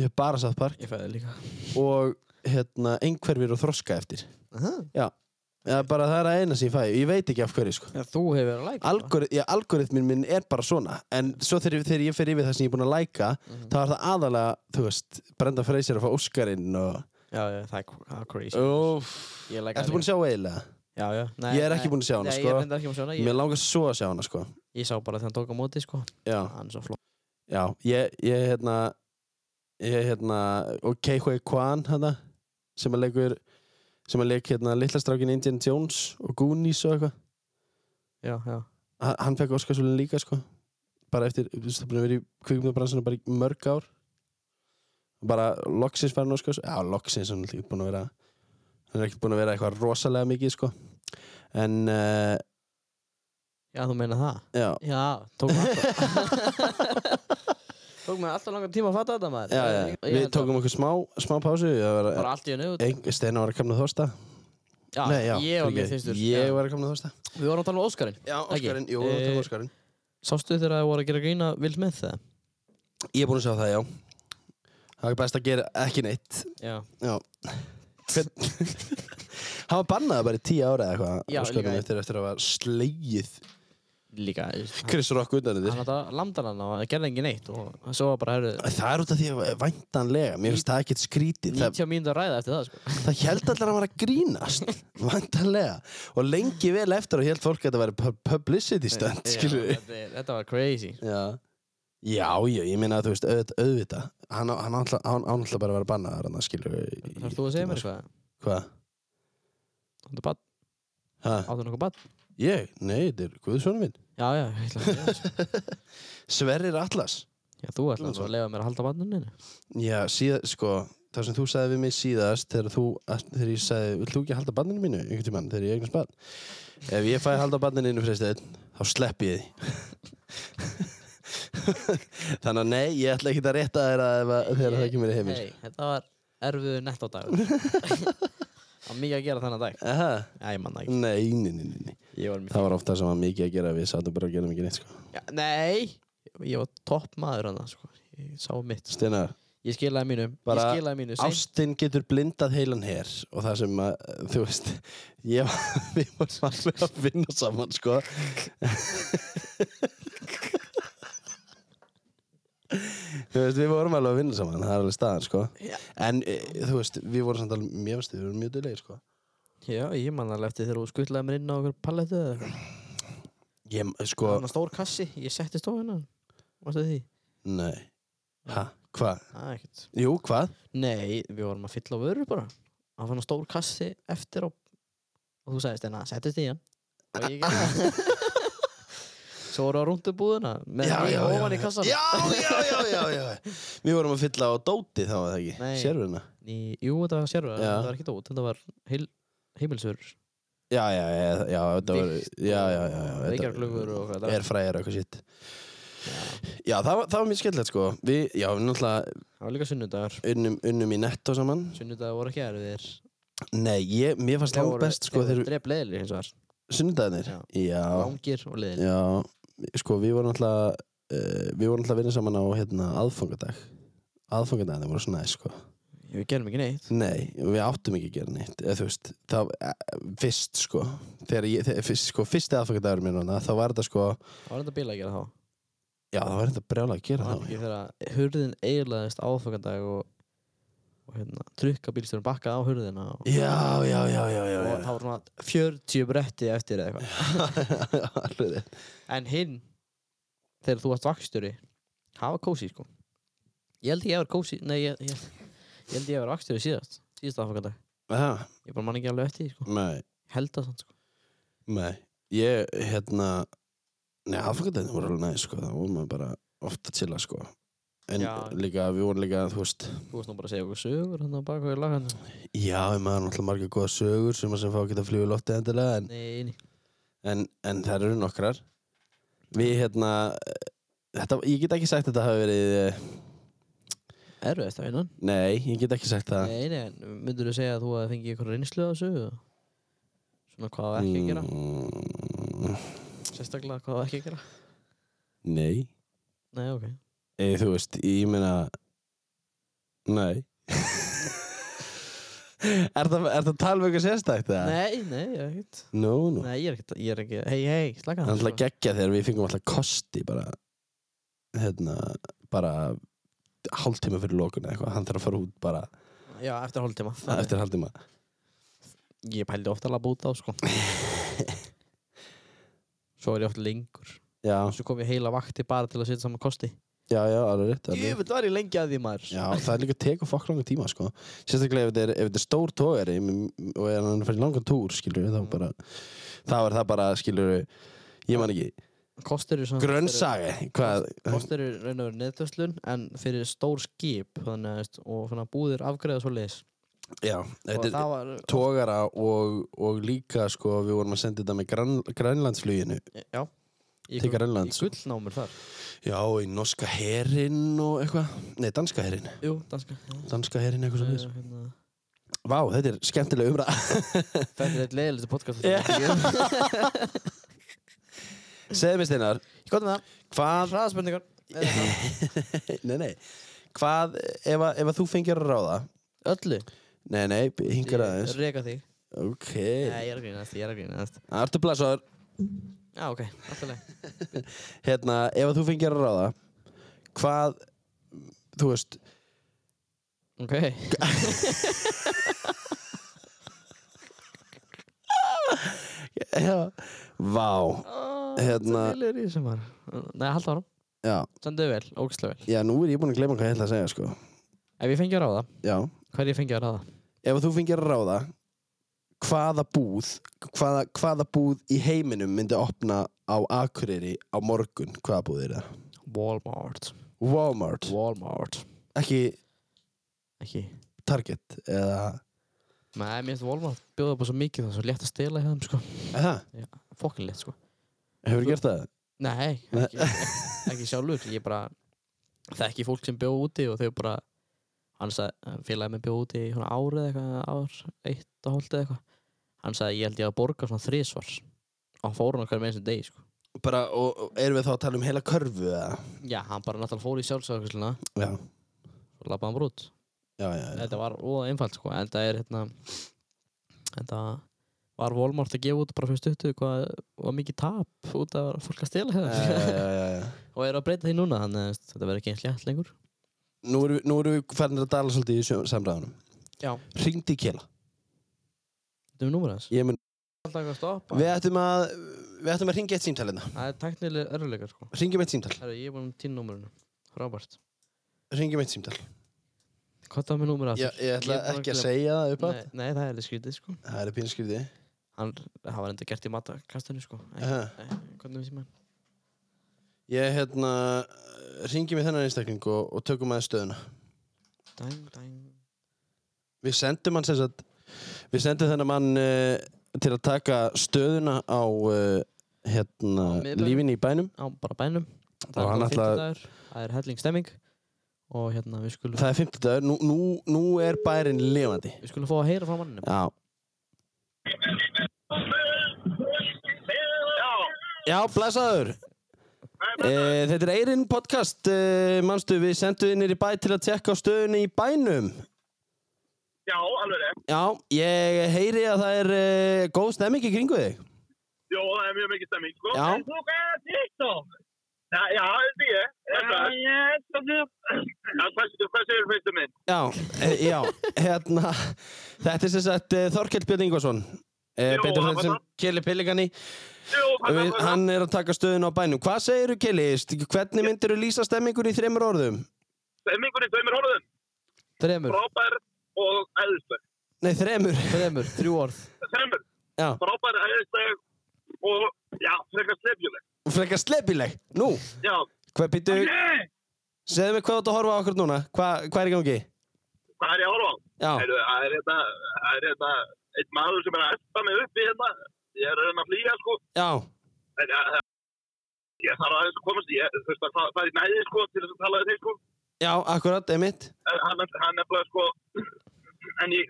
Speaker 1: ég fæ bara South Park
Speaker 2: Ég fæði líka
Speaker 1: og hérna, einhverfir og þroska eftir
Speaker 2: Aha.
Speaker 1: Já, bara það er að eina sem ég fæ. Ég veit ekki af hverju, sko.
Speaker 2: Já, Þú hefur verið að læka
Speaker 1: Algori, já, algoritmin minn er bara svona. En svo þegar, þegar ég fer yfir það sem ég er búinn að læka,
Speaker 2: Mhm.
Speaker 1: þá er það aðalega, þú veist, Brenda Fraser að fá Óskarinn og...
Speaker 2: Já, já, það er það er crazy
Speaker 1: Úff.
Speaker 2: Ég læka
Speaker 1: Ertu búinn að sjá eiginlega?
Speaker 2: Já, já. Nei,
Speaker 1: Ég er
Speaker 2: nei.
Speaker 1: ekki búinn að sjá hana,
Speaker 2: Nei,
Speaker 1: sko.
Speaker 2: ég reyndar ekki búinn að sjá hana. Ég,
Speaker 1: Mér langar svo að sjá hana, sko.
Speaker 2: ég sá bara þegar hann tók á móti, sko.
Speaker 1: Já,
Speaker 2: Hann er svo flott.
Speaker 1: já. Ég, ég, hérna... Ég, hérna... Og Keihui Kwan, hérna, sem að leikur... Sem að leik, hérna, Litla strákin Indian Jones og Goonies og eitthvað.
Speaker 2: Já, já.
Speaker 1: hann hann fekk Óskarsvölin líka sko bara eftir, þú veist, það er búin að vera í kvikmyndabransunum bara í mörg ár bara loksins farin Óskars já, loksins, hann er ekki búin að vera hann er ekki búin að vera eitthvað rosalega mikið sko en, uh,
Speaker 2: Já, þú meina það?
Speaker 1: já
Speaker 2: Já, tók mig alltaf. tók mig alltaf langan tíma að fatta þetta, maður.
Speaker 1: Já, já,
Speaker 2: Ég- ég
Speaker 1: við
Speaker 2: held að-
Speaker 1: tókum okkur smá, smá pásu það var-
Speaker 2: Bara allt í hennu.
Speaker 1: ein- Steina var að kamna þósta
Speaker 2: Já,
Speaker 1: Nei, já,
Speaker 2: ég var mjög
Speaker 1: fyrirgefðu.
Speaker 2: þyrstur.
Speaker 1: Ég
Speaker 2: Já.
Speaker 1: var að kamna þósta
Speaker 2: Við vorum að tala um Óskarinn.
Speaker 1: Já,
Speaker 2: Óskarinn, jú,
Speaker 1: jú,
Speaker 2: við tókum
Speaker 1: tók
Speaker 2: Óskarinn. Sástu þegar það voru að gera grína Will Smith það?
Speaker 1: Ég er búin að sjá það, já Það er best að gera ekki neitt
Speaker 2: Já.
Speaker 1: Já Hvern... Hann var bannað bara í tíu ára eða
Speaker 2: Já,
Speaker 1: eitthvað Óskarinn
Speaker 2: líka.
Speaker 1: eftir, eftir að var slegið
Speaker 2: Líka. þú veist,
Speaker 1: Chris Rock undan
Speaker 2: Hann
Speaker 1: þetta
Speaker 2: hann landar hann og hann gerði engin neitt og svo var bara, herru,
Speaker 1: Það er út af því að væntanlega Mér finnst það ekkert skrítið Það,
Speaker 2: 90 mínútur að ræða eftir það, sko.
Speaker 1: það held allir að hann var að grínast Væntanlega Og lengi vel eftir og held fólk að þetta væri pu- publicity stunt
Speaker 2: Já,
Speaker 1: Skilur við
Speaker 2: þetta er- Þetta var crazy.
Speaker 1: Já Já, já, ég meina að þú veist, auð, auðvita Hann á- hann á náttúrulega hann á náttúrulega bara að vera bannaðar Hann skilur við í-
Speaker 2: Þarf þú að segja mér eitthvað?
Speaker 1: Hvað?
Speaker 2: Áttu bad,
Speaker 1: Ha?
Speaker 2: áttu nokkuð bad?
Speaker 1: Ég? Nei, þetta er Guðsvonu minn
Speaker 2: Já, já, ég ætla að segja þessu.
Speaker 1: Sverrir Atlas
Speaker 2: Já, þú ætlaði svo að leifa mér að halda bannunni.
Speaker 1: Já, síðan, sko, það sem þú sagði við mig síðast þegar, þú, þegar ég sagði, vill þú ekki halda banninu mínu einhvern tímann þegar ég eignast bann ef ég fæ að halda banninu mínu freysteinn þá slepp ég því þannig að nei, ég ætla ekki að rétta þér að ef að- þegar það kemur í sko. heimil
Speaker 2: Nei, þetta var erfiðu nettódag Það var mikið að gera þennan dag
Speaker 1: Aha.
Speaker 2: Já, ég manna ekki
Speaker 1: nei, nei, nei, nei, nei
Speaker 2: Ég var mikið
Speaker 1: það var ofta sem var mikið að gera við sattum bara að gera mikið neitt sko.
Speaker 2: Já, Nei, ég var topp maður hann sko. Ég sá mitt
Speaker 1: Steinar,
Speaker 2: Ég skilaði mínu
Speaker 1: Bara
Speaker 2: Ég skilaði mínu Seint-
Speaker 1: ástin getur blindað heilan hér og það sem að, þú veist ég var, við varum alveg að vinna saman sko þú veist, við vorum alveg að vinna saman það er alveg staðan sko
Speaker 2: Já.
Speaker 1: en e, þú veist, við vorum samt alveg mjög veist, við vorum mjög dulegi sko
Speaker 2: Já, ég man alveg eftir þegar þú skuttlaði mér inn á okkur palletu eða eitthvað.
Speaker 1: ég,
Speaker 2: Það
Speaker 1: sko,
Speaker 2: var stór kassi, ég setti stóðina Varstu því?
Speaker 1: nei ha, hvað?
Speaker 2: Það er ekkert
Speaker 1: Jú, hvað?
Speaker 2: Nei, við vorum að fylla á vörur bara Það var stór kassi eftir á og þú sagðist hérna, settist í hann og ég gerði það Svo voru á rúndubúðuna með mig ofan í kassan
Speaker 1: já, já, já, já, já. Við vorum að fylla á dóti þá var það ekki,
Speaker 2: Nei.
Speaker 1: sérfuna
Speaker 2: Í, jú, þetta var sérfæður,
Speaker 1: Já.
Speaker 2: þetta var ekki dót, þetta var heil, heimilsvörur.
Speaker 1: Já, já, já, já, þetta var
Speaker 2: Vigt
Speaker 1: Já, já, já,
Speaker 2: og
Speaker 1: já
Speaker 2: veikjarglöggur og hvað þetta var.
Speaker 1: Er fræðir eitthvað sitt Já, það var, það var mjög skemmtilegt sko Við, já, við náttúrulega
Speaker 2: Það var líka sunnudagar.
Speaker 1: unnum, unnum í netto saman
Speaker 2: Sunnudagar voru ekki erfiðir.
Speaker 1: Nei, ég, mér fannst langt best sko
Speaker 2: þeir
Speaker 1: Þegar
Speaker 2: voru drep leðilir hins vegar.
Speaker 1: sunnudagarnir
Speaker 2: Já.
Speaker 1: Já,
Speaker 2: Langir og leðilir.
Speaker 1: já, sko, við vorum náttúrulega uh, Við vorum náttúrulega að vinna saman á hérna, aðfangadag Aðfangadaginn voru svona næs sko
Speaker 2: Við gerum ekki neitt.
Speaker 1: Nei, við áttum ekki að gera neitt eða, þú veist, það, fyrst sko þegar ég, þegar, fyrst, sko, fyrsti aðfangadagur minn núna, þá var þetta sko,
Speaker 2: Það var þetta bíla að gera þá.
Speaker 1: já það var þetta brjála að gera
Speaker 2: Það
Speaker 1: þá
Speaker 2: var ekki þegar að hurðin eiginlegaðist áfangandag og, og hérna, trukka bílstjórn bakkað á hurðina og,
Speaker 1: Já, já, já, já, já,
Speaker 2: og
Speaker 1: já.
Speaker 2: það var svona 40 bretti eftir eða eitthvað.
Speaker 1: Alveg rétt.
Speaker 2: En hinn, þegar þú varst vakstjóri, það var kósi sko. Ég held ekki að ég var kósi, nei, ég, ég, ég held ég að ég var vakstjóri síðast, síðast aðfangandag.
Speaker 1: Aha,
Speaker 2: Ég bara man ekki alveg eftir því sko.
Speaker 1: Nei,
Speaker 2: Held það sann sko.
Speaker 1: nei Ég, hérna Nei, aðfangadaginn voru alveg næst, sko Það voru maður bara ofta til að, sko En
Speaker 2: Já.
Speaker 1: líka, við vorum líka, þú veist
Speaker 2: Þú varst nú bara að segja okkur sögur hann á baka í lagan.
Speaker 1: Já, við maður náttúrulega marga góða sögur sem að sem fá að geta flugu loftið endilega en,
Speaker 2: Nei, nei.
Speaker 1: en, en það eru nokkrar Við, hérna eh, þetta, Ég get ekki sagt að þetta hafi verið eh,
Speaker 2: Erfiðast að vinnan.
Speaker 1: Nei, ég get ekki sagt það
Speaker 2: Nei, nei, en myndur þú segja að þú hefði fengið eitthvað reynslu á sögu? Svona hvað var ekki að gera?
Speaker 1: Mm,
Speaker 2: Sérstaklega hvað var ekki að gera?
Speaker 1: Nei
Speaker 2: Nei, ok.
Speaker 1: Eða Eh, þú veist, ég meina Nei Er það er það að tala um eitthvað sérstækt eða?
Speaker 2: Nei, nei, ég er ekkert.
Speaker 1: Nú, nú
Speaker 2: Nei, ég er ekkert, ég er ekki, hei, hei,
Speaker 1: Það
Speaker 2: slaka
Speaker 1: er
Speaker 2: það.
Speaker 1: alltaf geggja þegar við fengum alltaf kosti bara hérna, bara hálftíma fyrir lokun eða eitthvað, hann þarf að fara út bara
Speaker 2: Já, eftir hálftíma.
Speaker 1: eftir hálftíma
Speaker 2: Ég pældi ofta alveg að búta á, sko. Svo var ég ofta lengur.
Speaker 1: Já,
Speaker 2: Svo kom ég heila vakti bara til að setja saman kosti.
Speaker 1: já, já, alveg rétt alveg. rétt.
Speaker 2: Jöfnveld var ég lengi að því maður.
Speaker 1: Já, það er líka tek og fokk langan tíma sko. sérstaklega ef þetta er, ef þetta er stór tógari og er hann fyrir langan túr skilur,
Speaker 2: Mm.
Speaker 1: þá bara, þá er það bara skilur, ég man ekki
Speaker 2: Kostur er svona...
Speaker 1: Grönnsagi, hvað?
Speaker 2: Kostur er raun og verið neðtöfslun en fyrir stór skip þannig, að, veist, og svona búðir afgreða svo leis
Speaker 1: Já,
Speaker 2: og
Speaker 1: þetta er
Speaker 2: það var,
Speaker 1: tógara og, og líka sko við vorum að senda þetta með græn, grænlandsfluginu
Speaker 2: já í,
Speaker 1: til
Speaker 2: gull- í
Speaker 1: Grænlands.
Speaker 2: gullnámur þar
Speaker 1: Já, og í norska herinn og eitthvað. Nei, danska herinn.
Speaker 2: Jú, danska Eh,
Speaker 1: Danska herinn eitthvað svo þess.
Speaker 2: Hérna,
Speaker 1: Vá, þetta er skemmtilega umræð.
Speaker 2: Þetta er eitt leiðilegstu podcast
Speaker 1: Já.
Speaker 2: Ég
Speaker 1: Segðu mér Steinar,
Speaker 2: gott með það
Speaker 1: hvað,
Speaker 2: Hraðaspurningar
Speaker 1: nei, nei, hvað, ef, að- ef að þú fengir að ráða,
Speaker 2: Öllu
Speaker 1: nei, nei, hingar aðeins,
Speaker 2: Ég Reka þig
Speaker 1: ok,
Speaker 2: Nei, ég er að grínast Ég er að grínast
Speaker 1: artur blasar,
Speaker 2: Já, ok Alltilega
Speaker 1: hérna, ef að þú fengir að ráða, hvað, þú veist,
Speaker 2: Ok
Speaker 1: já, vá, Hérna-
Speaker 2: Það er í sem var Nei, halda ára
Speaker 1: já,
Speaker 2: Sendu vel Ógislega vel
Speaker 1: Já, nú er ég búinn að gleyma hvað ég ætla að segja, sko.
Speaker 2: Ef ég fengi að ráða
Speaker 1: Já.
Speaker 2: Hvað er ég fengi að ráða?
Speaker 1: Ef þú fengir að ráða, hvaða búð, hvaða, hvaða búð í heiminum myndi opna á Akureyri á morgun? Hvaða búð er það?
Speaker 2: Walmart
Speaker 1: Walmart.
Speaker 2: Walmart
Speaker 1: Ekki
Speaker 2: Ekki
Speaker 1: Target eða
Speaker 2: Nei, mér finnst Walmart bjóða bara svo mikið það er svo létt að stela hjá þeim sko
Speaker 1: eða,
Speaker 2: Fokkin létt sko
Speaker 1: hefur gert það?
Speaker 2: Nei,
Speaker 1: Nei.
Speaker 2: ekki, ekki sjálfur Ég bara þekki fólk sem bjóð úti og þau bara hann sagði, félagið minn bjóð úti í svona árið eitthvað, ár, eitt og hálft eða eitthvað hann sagði, ég held ég að borga svona þrísvar og hann fór hann okkar með þessum degi sko
Speaker 1: Bara, og, og erum við þá að tala um heila körfu eða?
Speaker 2: Já, hann bara náttúrulega fór í sjálfsögursluna
Speaker 1: Já,
Speaker 2: og labbaði hann bara út
Speaker 1: já, já, já.
Speaker 2: Þetta var óða einfalt sko en það er hérna en það var Walmart að gefa út bara fyrst uttu hvað var mikið tap út af fólk að stela
Speaker 1: Já, já,
Speaker 2: hérna
Speaker 1: já, já, já.
Speaker 2: og er að breyta því núna þannig að þetta verður ekki eins létt lengur
Speaker 1: Nú erum við, nú erum við farin að dala svolítið í sjö- samræðunum
Speaker 2: Já
Speaker 1: Hringdi í Kela
Speaker 2: Þetta er númur hans
Speaker 1: Ég mun,
Speaker 2: Alltaf eitthvað að stoppa
Speaker 1: Við ættum að Við ættum að ringi eitt símtal hérna
Speaker 2: Það er tæknilega örðuleikar sko
Speaker 1: Ringjum eitt símtal
Speaker 2: Herru, ég er búinn um tín númurinu Robert
Speaker 1: Ringjum eitt símtal
Speaker 2: Hvað það með númur að
Speaker 1: Ég, ég ætla
Speaker 2: Ég er búin að
Speaker 1: ekki að
Speaker 2: gleyma.
Speaker 1: segja það upp að
Speaker 2: nei, nei, það er þið skrítið sko
Speaker 1: Það er pínskrifti
Speaker 2: Hann, það var enda gert í matakastunni sko Nei,
Speaker 1: Aha.
Speaker 2: nei, Hvernig vissi maður
Speaker 1: Ég hérna Ringjum í þennan einstakling og, og tökum aðeins stöðuna
Speaker 2: Dæng, dæng
Speaker 1: Við sendum hann sem sagt Við sendum þennan mann uh, til að taka stöðuna á uh, hérna
Speaker 2: Á miðbænum.
Speaker 1: lífin í bænum
Speaker 2: Á bara bænum
Speaker 1: Og
Speaker 2: Það er
Speaker 1: hann
Speaker 2: bara
Speaker 1: ætlaði-
Speaker 2: fimmtudagur. Það er helling stemming Og hérna við skulum
Speaker 1: Það er 50 dagur, nú, nú, nú er bærin lifandi
Speaker 2: Við skulum fá að heyra frá manninu
Speaker 1: Já
Speaker 3: Já,
Speaker 1: Já, blessaður e, Þetta er Eirinn podcast e, Manstu, við sendum þið nýri bæ til að tekka á stöðunni í bænum
Speaker 3: já, alveg rétt.
Speaker 1: Já, ég heyri að það er e, góð stemming í kringu þig
Speaker 3: Jó, það er mjög mikið stemming, sko.
Speaker 1: Já.
Speaker 3: En þú gæði TikTok. Já, já, þetta er ég. Þetta er ég, þetta er ég. Já, hvað segir- hvað segir fyrstu minn?
Speaker 1: Já, e, já, hérna Þetta er sem sagt e, Þorkell Björn Ingvarsson e,
Speaker 3: Jú,
Speaker 1: Betur
Speaker 3: hann
Speaker 1: þetta
Speaker 3: var
Speaker 1: sem
Speaker 3: það.
Speaker 1: Kelly Pilligani
Speaker 3: Jú, hann er
Speaker 1: Við-
Speaker 3: hann.
Speaker 1: Hann er að taka stöðun á bænum Hvað segirðu Kelly? St- Hvernig myndirðu lýsa stemmingur í þreymur orðum?
Speaker 3: Stemmingurinn, tveimur hóruðum.
Speaker 2: Þremur,
Speaker 3: Frábær og æðisleg.
Speaker 1: Nei, þremur
Speaker 2: þremur, þrjú orð
Speaker 3: Þreimur.
Speaker 1: Já,
Speaker 3: Frábær, æðisleg og, já, frekar slefjuleg.
Speaker 1: frekar slepileg Nú,
Speaker 3: Já.
Speaker 1: hvað býttu
Speaker 3: Nei!
Speaker 1: Segðu mig hvað þú ert að horfa á okkur núna Hva, Hvað er í gangi?
Speaker 3: Hvað er ég að horfa á?
Speaker 1: Já,
Speaker 3: Heyrðu, Það er þetta, það er þetta, einn maður sem er að espa mig upp í hérna. Ég er að reyna að flýja, sko.
Speaker 1: já,
Speaker 3: En, ja, það- ég þarf aðeins að komast ég, þú veist að það, það er næði sko til þess að tala við þeir sko
Speaker 1: já, akkurat, emitt
Speaker 3: en hann, hann er bara sko en ég,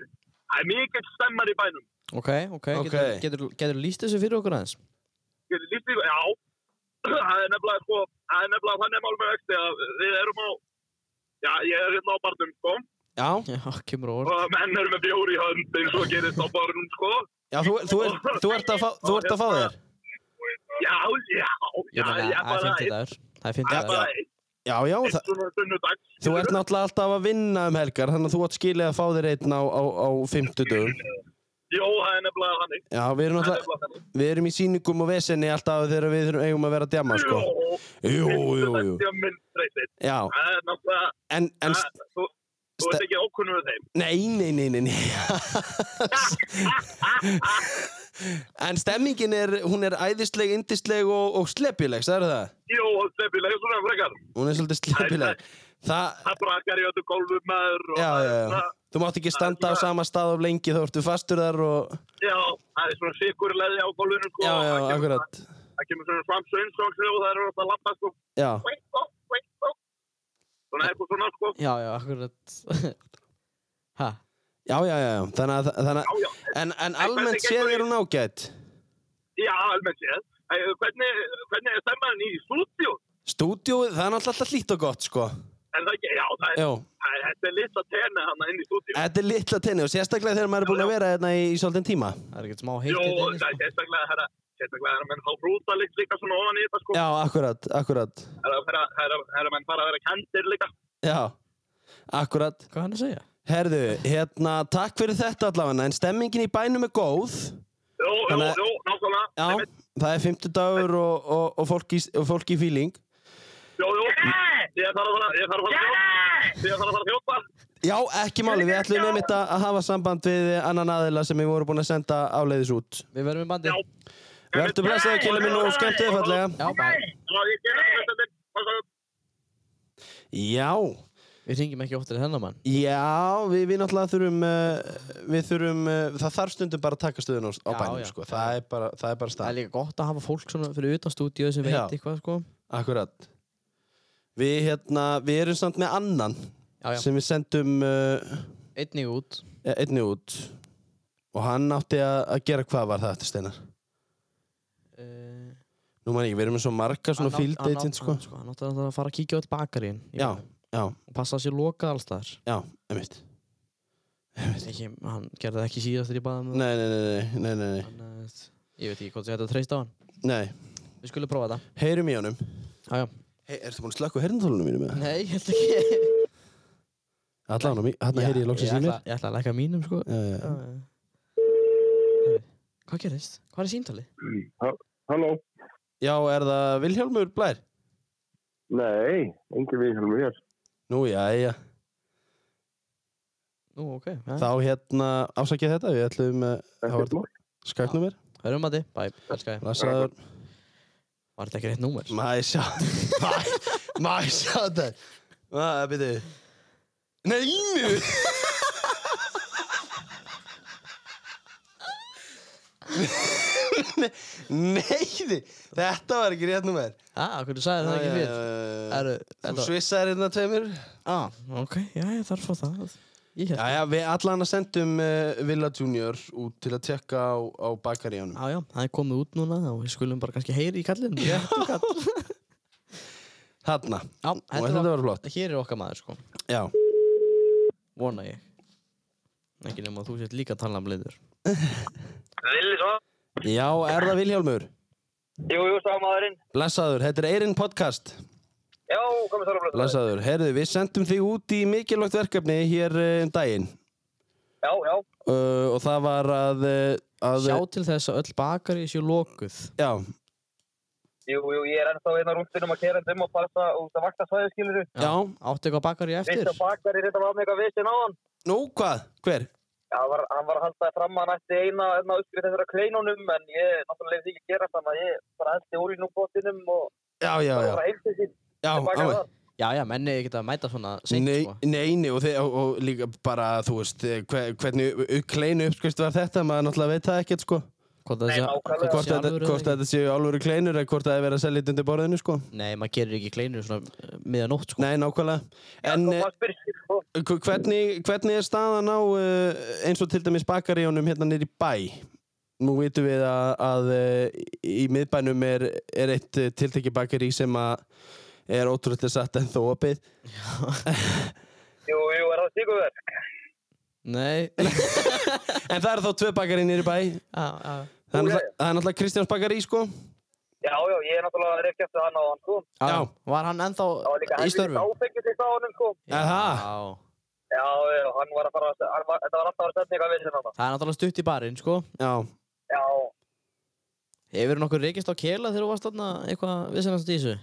Speaker 3: það er mikill stemmar í bænum
Speaker 2: Ok, ok,
Speaker 1: Ok.
Speaker 2: getur- getur- getur líst þessu fyrir okkur aðeins?
Speaker 3: ég lýst í, já það er nefnilega sko, það er nefnilega þannig mál með vexti að við erum á já, ég er hérna á barnum sko
Speaker 1: Já,
Speaker 2: Já, kemur á orð
Speaker 3: og menn eru með bjóri í hönd eins og gerist á barnum sko
Speaker 1: já, þú, þú, er, þú ert að fá, þú ert að fá þér
Speaker 3: já, já, já,
Speaker 2: Ég meina, það
Speaker 3: já,
Speaker 2: er
Speaker 3: bara
Speaker 2: fintið dagur Það er
Speaker 3: það
Speaker 2: fintið dagur
Speaker 3: er bara eitt
Speaker 1: Já, já,
Speaker 3: eitt
Speaker 1: það,
Speaker 3: svona sunnudags
Speaker 1: þú ert náttúrulega alltaf að vinna um helgar Þannig að þú átt skilið að fá þér einn á, á, á fimmtudum
Speaker 3: Jó, það er nefnilega þannig
Speaker 1: Já, við erum
Speaker 3: Það er
Speaker 1: náttúrulega
Speaker 3: nefnilega þannig
Speaker 1: Við erum í sýningum og vesenni alltaf þegar við þurfum eigum að vera að djama, sko
Speaker 3: Jó,
Speaker 1: Jú, jú,
Speaker 3: Það
Speaker 1: jú
Speaker 3: er minn streytið.
Speaker 1: Já,
Speaker 3: Það er náttúrulega,
Speaker 1: en, en
Speaker 3: það- þú, þú ert
Speaker 1: Ste-
Speaker 3: ekki ókunnum við þeim.
Speaker 1: Nei, nei, nei, nei, nei. En stemmingin er, hún er æðisleg, indisleg og, og slepileg, sagði það?
Speaker 3: Jó, stefnilega, svona frekar.
Speaker 1: Hún er svolítið slepileg. Það,
Speaker 3: Það brakar í öllu gólfum maður. og
Speaker 1: já,
Speaker 3: það er
Speaker 1: já, já.
Speaker 3: svona-
Speaker 1: Þú mátt ekki standa á sama stað of lengi, þá ertu fastur þar og...
Speaker 3: Já, það er svona sikur leði á gólfinu, sko.
Speaker 1: Já, já,
Speaker 3: Það kemur-
Speaker 1: akkurat.
Speaker 3: Það kemur svona framsöinsóksri og það er alltaf að lappa, sko.
Speaker 1: Já.
Speaker 3: Veik, ó, veik, ó. Svona eitthvað svona, sko.
Speaker 2: Já, já, akkurat Hæ?
Speaker 1: Já, já, já, já. Þannig að, þannig
Speaker 3: Já,
Speaker 1: að,
Speaker 3: já.
Speaker 1: en, en almennt séð er hún ágætt.
Speaker 3: Já, almennt séð. Æ, Hvernig, hvernig er stemmaðin í stúdíu?
Speaker 1: Stúdíóið, það er náttúrulega alltaf hlýtt og gott, sko.
Speaker 3: Er það ekki? Já, það er,
Speaker 1: Jó.
Speaker 3: það er, þetta er litla tenni hann inn í stúdíu.
Speaker 1: Þetta er litla tenni og sérstaklega þegar maður er búin að vera hérna í, í svolítinn tíma.
Speaker 2: Það er ekkert smá
Speaker 3: Jó,
Speaker 2: heitið inni,
Speaker 3: það er
Speaker 2: sko.
Speaker 3: sérstaklega þeirra, sérstaklega þeirra menn þá hrúta líkt líka svona ofan í þetta sko.
Speaker 1: Já, akkurat, akkurat.
Speaker 3: Þeirra, þeirra, þeirra, þeirra menn fara að vera kendir líka.
Speaker 1: Já, akkurat.
Speaker 2: Hvað er hann að segja?
Speaker 1: Herðu, hérna, takk fyrir þetta allavega, en stemmingin í bænum er góð.
Speaker 3: Jú, jú,
Speaker 1: Þannig að-
Speaker 3: jú, nákvæmlega.
Speaker 1: Já,
Speaker 3: Einmitt.
Speaker 1: það er fimmtudagur og, og, og, fólk í, og fólk í fíling.
Speaker 3: Jú, jú, ég þarf að fara, ég þarf að fara að þjóta. Ég þarf að fara að þjóta.
Speaker 1: Já, ekki máli, við ætlum nefnitt að að hafa samband við annan aðila sem við vorum búin að senda áleiðis út.
Speaker 2: Við verðum í bandi
Speaker 3: Já.
Speaker 1: Vertu blessaði, kynni minn og skemmtu þið fallega.
Speaker 2: Já, bæ
Speaker 3: Já, ég gerði þetta.
Speaker 1: Já,
Speaker 2: Við ringjum ekki óttir hennar mann
Speaker 1: Já, við, við náttúrulega þurfum, uh, við þurfum uh, það þarf stundum bara að taka stöðun á, á
Speaker 2: Já,
Speaker 1: bænum,
Speaker 2: já.
Speaker 1: sko. Það er bara, það er bara
Speaker 2: Það er
Speaker 1: stað.
Speaker 2: líka gott að hafa fólk svona fyrir utan stúdíu sem veit
Speaker 1: Já.
Speaker 2: eitthvað sko
Speaker 1: Akkurat. Við, hérna, við erum samt með annan
Speaker 2: Já, já,
Speaker 1: sem við sendum uh,
Speaker 2: einnig út
Speaker 1: einni út og hann átti að, að gera hvað var það eftir steinar.
Speaker 2: uh,
Speaker 1: Nú maður ekki, við erum með svo marga svona field agent, sko.
Speaker 2: sko Hann átti að fara að kíkja á öll bakarín
Speaker 1: Já, já,
Speaker 2: Og passa að sér lokað alls þar
Speaker 1: já, einmitt. Einmitt.
Speaker 2: ekki, Hann gerði það ekki síðast þegar ég baði um það
Speaker 1: Nei, nei, nei, nei, nei, nei,
Speaker 2: Hann, eh, Ég veit ekki hvort ég hætti að treysta á hann
Speaker 1: nei.
Speaker 2: Við skulum prófa þetta
Speaker 1: Heyrum í honum.
Speaker 2: Já, já
Speaker 1: Hey, ertu búin að slökka herndólunum mínum með það?
Speaker 2: Nei, ég held ekki
Speaker 1: Allan, hann heyri ég loksins í mér.
Speaker 2: ætla- Ég ætla að lækka mínum sko
Speaker 1: Já, já, já.
Speaker 2: Heyrðu, Hvað gerist? Hvað er síntalið?
Speaker 4: Halló?
Speaker 1: Já, er það Vilhjálmur Blær?
Speaker 4: Nei, engin viðhjálmur hér.
Speaker 1: Nú, já, já.
Speaker 2: Nú, ok
Speaker 1: Þá hérna, afsakið þetta, við ætlum eh, Það var-
Speaker 4: Ekkert mál.
Speaker 1: skaknúmer.
Speaker 2: Hörðum að þið, bæ, elskar þið
Speaker 1: Lasaður.
Speaker 2: Var þetta ekki rétt númer?
Speaker 1: Mæ, sjá. Mæ, mæ, sjá þetta. Mæ, byrju. Nei, nú. Nei, þið. þetta var ekki rétt númer.
Speaker 2: Ah, hvernig sagði það ekki fyrir?
Speaker 1: fyrir.
Speaker 2: Eru,
Speaker 1: Þú
Speaker 2: þetta
Speaker 1: svissaðir hérna tveimur.
Speaker 2: Ah, ok, já, ég þarf að fá það Ég held
Speaker 1: Já, já, við allan að sendum uh, Villa Junior út til að tekka á, á bakaríanum.
Speaker 2: Já, já, það er komið út núna og við skulum bara kannski heyri í kallinu Já,
Speaker 1: Þarna.
Speaker 2: já
Speaker 1: Og
Speaker 2: þetta
Speaker 1: þetta
Speaker 2: var
Speaker 1: var flott.
Speaker 2: Hér er okkar maður, sko
Speaker 1: Já.
Speaker 2: Vona ég Ekki nema að þú sett líka að tala um liður
Speaker 3: Villi svo?
Speaker 1: Já, er það Vilhjálmur?
Speaker 3: Jú, jú, sá maðurinn.
Speaker 1: Blessaður, þetta er Eirinn podcast.
Speaker 3: Já, komið þar á blöð.
Speaker 1: Blessaður, heyrðu, við sendum þig út í mikilvægt verkefni hér eh, um daginn.
Speaker 3: Já, já.
Speaker 1: Uh, og það var að... eh, að
Speaker 2: Sjá til þess að öll bakari séu lokuð
Speaker 1: Já,
Speaker 3: Jú, jú, ég er ennþá einn á rúndinum að kera um og passa út að vakta svæðið, skilur þú?
Speaker 1: já.
Speaker 2: Áttu eitthvað bakari eftir?
Speaker 3: Vist að bakari þetta var með eitthvað vissin á hann.
Speaker 1: Nú, hvað? Hver?
Speaker 3: Já, hann var, hann var að halda það fram að hann ætti eina enna uppskrið þessara kleinunum, en ég náttúrulega lefði ekki að gera þannig að ég bara ætti úr í núbótinum og
Speaker 1: Já, já, já.
Speaker 3: bara heimti sín.
Speaker 1: Já, ámæ.
Speaker 2: Já, já, menni ekki að mæta svona seint,
Speaker 1: Nei,
Speaker 2: sko
Speaker 1: nei, nei, og, þið, og, og líka bara, þú veist, eh, hve- hvernig u- kleinu uppskrift var þetta, maður náttúrulega veit það ekkert, sko.
Speaker 2: Hvort það
Speaker 3: Nei,
Speaker 2: sé-
Speaker 3: nákvæmlega.
Speaker 2: hvort það
Speaker 1: Hvort
Speaker 2: sé
Speaker 1: þetta,
Speaker 2: alvöru eða
Speaker 1: hvort
Speaker 2: ekki.
Speaker 1: þetta séu alvöru kleinur eða hvort það er verið að selja þetta undir borðinu, sko.
Speaker 2: Nei, maður gerir ekki kleinur svona miðan nótt, sko
Speaker 1: Nei, nákvæmlega. En, eh,
Speaker 3: sko.
Speaker 1: Hv- Hvernig, hvernig er staðan á uh, eins og til dæmis bakaríunum hérna nýri bæ? Nú vitum við að, að uh, í miðbænum er, er eitt uh, tiltekki bakarí sem að er ótrúlega satt en þó opið.
Speaker 3: Jú, jú, er það stíkuverk?
Speaker 2: Nei
Speaker 1: En það eru þá tvö bakarí nýri bæ.
Speaker 2: Já, já
Speaker 1: Það er
Speaker 3: Ólega.
Speaker 1: náttúrulega- það er náttúrulega Kristjáns bakarí sko.
Speaker 3: Já, já, ég er náttúrulega að rekja eftir hann á hann, sko.
Speaker 2: Já,
Speaker 1: Já.
Speaker 2: Var hann ennþá
Speaker 3: Það var líka
Speaker 2: í
Speaker 3: helvítið
Speaker 2: störfum?
Speaker 3: áfengið til staðanum, sko.
Speaker 1: Aha.
Speaker 2: Já.
Speaker 3: Já, já, hann var að fara að, hann var, þetta var alltaf að vera setning að vissin hann.
Speaker 2: Það er náttúrulega stutt í barinn, sko.
Speaker 1: Já.
Speaker 3: Já,
Speaker 2: Hefur nokkur reykist á kela þegar þú varst þarna eitthvað vissinast í þessu?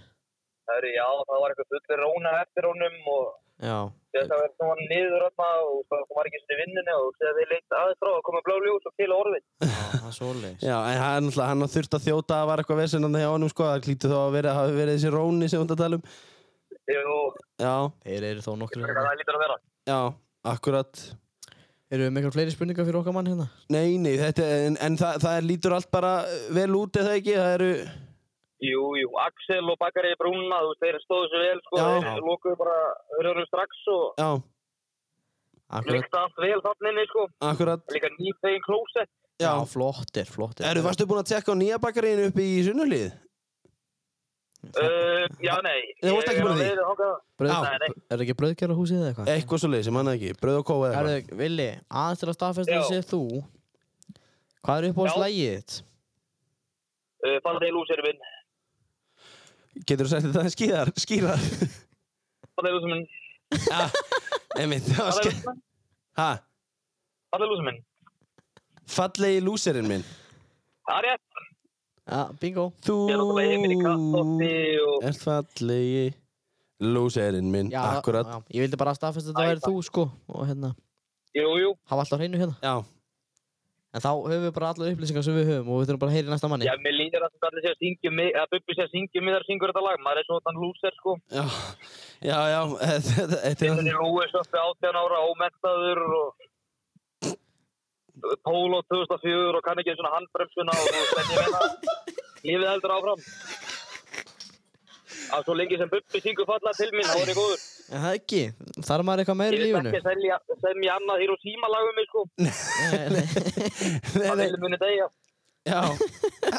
Speaker 3: herri, já, það var eitthvað fullir róna eftir honum og
Speaker 2: Já.
Speaker 3: þess að vera svona niður öfna og það var ekki svona í vinnunni og þegar þeir leitt aðeins frá og komið blá ljós og kila orðin.
Speaker 2: Já, það er svoleiðis.
Speaker 1: Já, en hann, náttúrulega- hann þurft að þjóta að var eitthvað vesenandi hjá honum sko. Það klítur þá að vera, hafi verið þessi róni sem hún er að tala um.
Speaker 3: Jú,
Speaker 1: Já,
Speaker 2: Þeir eru þó nokkur.
Speaker 3: það er lítur að vera.
Speaker 1: já, akkurat.
Speaker 2: Eru við mikla fleiri spurningar fyrir okkar mann hérna?
Speaker 1: Nei, nei, þetta, en, en það, það lítur allt bara vel út eða ekki, það eru...
Speaker 3: Jú, jú, Axel og Bakari Brúna, þú veist, þeir stóðu sér vel, sko,
Speaker 1: Já.
Speaker 3: þeir lókuðu bara hörðunum strax og
Speaker 1: Já,
Speaker 2: Akkurat.
Speaker 3: lykta allt vel þannig inni, sko.
Speaker 1: akkurat,
Speaker 3: Líka nýtt eigin klósett.
Speaker 1: já.
Speaker 2: Já, flottir, flottir.
Speaker 1: Eru, varstu búin að tjekka á nýja bakarínu uppi í sunnulíð?
Speaker 3: Uh, já, nei.
Speaker 1: Nei, þú varst ekki
Speaker 3: Ég er
Speaker 1: búin að
Speaker 3: á
Speaker 1: því?
Speaker 3: leiðinni þangað.
Speaker 2: Brauð,
Speaker 3: Nei, nei.
Speaker 2: er ekki brauðgerra húsið eða eitthvað?
Speaker 1: Eitthvað svo leið sem hann ekki, brauð og kóa eða
Speaker 2: Eru,
Speaker 1: eitthvað.
Speaker 2: Vili, aðeins til að staðfesta
Speaker 3: Já.
Speaker 2: þessi þú. Hvað er upp á
Speaker 3: Já.
Speaker 2: slægið þitt?
Speaker 3: Uh, Fallið í lúsirinn minn.
Speaker 1: Getur þú sagt þetta skýðar, skýrar?
Speaker 3: Fallið í lúsirinn minn.
Speaker 1: já, einmitt, það var
Speaker 3: Fallið í
Speaker 1: skýr...
Speaker 3: lúsirinn minn.
Speaker 1: Ha,
Speaker 3: Fallið í lúsirinn minn.
Speaker 1: fallegi lúserinn minn.
Speaker 3: Það er rétt.
Speaker 2: Já, bingo.
Speaker 1: Þú...
Speaker 3: Ég er náttúrulega heiminn í kattótti og...
Speaker 1: Ert fallegi lúserinn minn,
Speaker 2: Já,
Speaker 1: akkurat.
Speaker 2: Já, ég vildi bara staðfesta að þetta
Speaker 3: Æ,
Speaker 2: væri þú, sko. Og hérna,
Speaker 3: Jú, jú.
Speaker 2: hafa alltaf hreinu hérna.
Speaker 1: Já,
Speaker 2: En þá höfum við bara allar upplýsingar sem við höfum og við þurfum bara að heyra í næsta manni.
Speaker 3: Já, mér líður að þetta allir sé að syngja mig, að Bubbi sé að syngja mig þegar syngur þetta lag. Maður er svo þann lúser, sko.
Speaker 1: Já, já, já þetta- Þetta er
Speaker 3: Þetta er Lúis uppi 18 ára, ómentaður og... Polo 2004 og kann ekki einu svona handbremsuna og þú veist, ég meina, lífið heldur áfram. Að svo lengi sem Bubbi syngur falla til mín, þá er ég góður.
Speaker 2: En það ekki, þarf maður eitthvað meira
Speaker 3: Ég
Speaker 2: í
Speaker 3: vil
Speaker 2: lífinu?
Speaker 3: ekki selja, semja annað hér og síma lagum mig, sko.
Speaker 2: Nei, nei.
Speaker 1: Nei,
Speaker 3: Það
Speaker 1: nei,
Speaker 3: vil muni degja.
Speaker 1: já,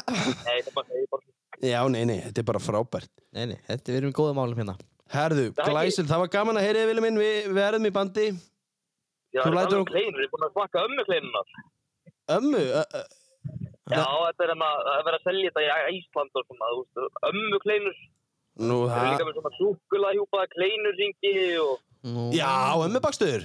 Speaker 3: Nei, það er bara, ég bara,
Speaker 1: já, nei, nei, þetta er bara frábært
Speaker 2: nei, nei, þetta við erum í góðum álum hérna.
Speaker 1: Herðu,
Speaker 3: Það er
Speaker 1: glæsil, það var gaman að heyra yfir minn Við, við erum í bandi
Speaker 3: já,
Speaker 1: Þú
Speaker 3: það er
Speaker 1: lætur
Speaker 3: alveg
Speaker 1: okkur-
Speaker 3: kleinur, ég er búin að svakka ömmu kleinunar.
Speaker 1: Ömmu, ö, ö,
Speaker 3: Já, þetta er hérna, það er verið að selja þetta í Ísland og svona, þú veist, ömmu kleinur.
Speaker 1: nú
Speaker 3: Það er
Speaker 1: það
Speaker 3: líka með svona súkulahjúpaða kleinurringi og
Speaker 2: Nú,
Speaker 1: Já, ömmu bakstur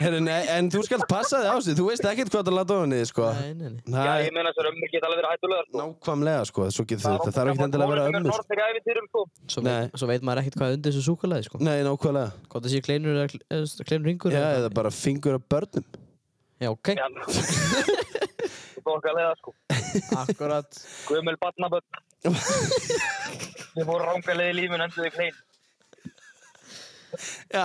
Speaker 1: Herru, nei, en þú skalt passa þig á sig Þú veist ekkert hvað það láta ofan í þig, sko
Speaker 2: Nei, nei, nei.
Speaker 3: já,
Speaker 1: Það
Speaker 3: ég
Speaker 1: er
Speaker 3: meina þessar ömmur geta alveg verið hættulegar sko.
Speaker 1: nákvæmlega, sko Svo getur þú, það þarf ekkert endilega að vera ömmur sko.
Speaker 3: Það er æfintýrum sko.
Speaker 2: Svo,
Speaker 1: Nei.
Speaker 2: Veit, svo veit maður ekkert hvað er undir þessu súkulæði, sko.
Speaker 1: Nei, nákvæmlega
Speaker 2: Hvort það sé kleinur eða kl- eða kleinur ringur.
Speaker 1: Já, eða bara fingur af börnum
Speaker 2: Já, ok.
Speaker 3: Já, Þú fokkar leiða sko.
Speaker 2: Akkurat.
Speaker 3: Guðmjöl barnaböld. Þið fóru ranga leið í lífinu endur þau klein.
Speaker 1: Já,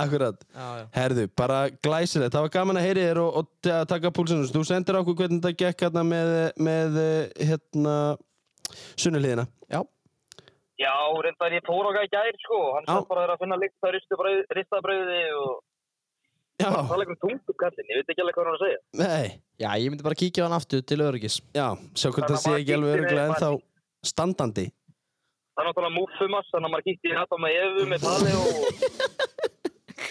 Speaker 1: akkurat
Speaker 2: Já, já.
Speaker 1: Herðu, bara glæsilegt, það var gaman að heyri þér og, og t- að taka púlsinu, þú sendir okkur hvernig þetta gekk hérna með, með eh, hérna, sunnuliðina
Speaker 2: Já,
Speaker 3: Já, reyndar ég fór okkar í gær sko. Hann
Speaker 1: Já.
Speaker 3: svo bara er að finna lykt að ristabröði og
Speaker 1: Já,
Speaker 3: tala ykkur um tungukallin. Ég veit ekki alveg hvað hann er að segja.
Speaker 1: nei,
Speaker 2: já, ég myndi bara kíkja á hann aftur til öryggis.
Speaker 1: já, sjá hvernig
Speaker 3: Þannig
Speaker 1: það sé
Speaker 3: að
Speaker 1: ekki
Speaker 3: maður
Speaker 1: alveg
Speaker 3: giftir
Speaker 1: öruglega en
Speaker 3: eða
Speaker 1: þá standandi
Speaker 3: Það er náttúrulega múfumast, þannig að maður kýtti hérna með Efu, með Tali og...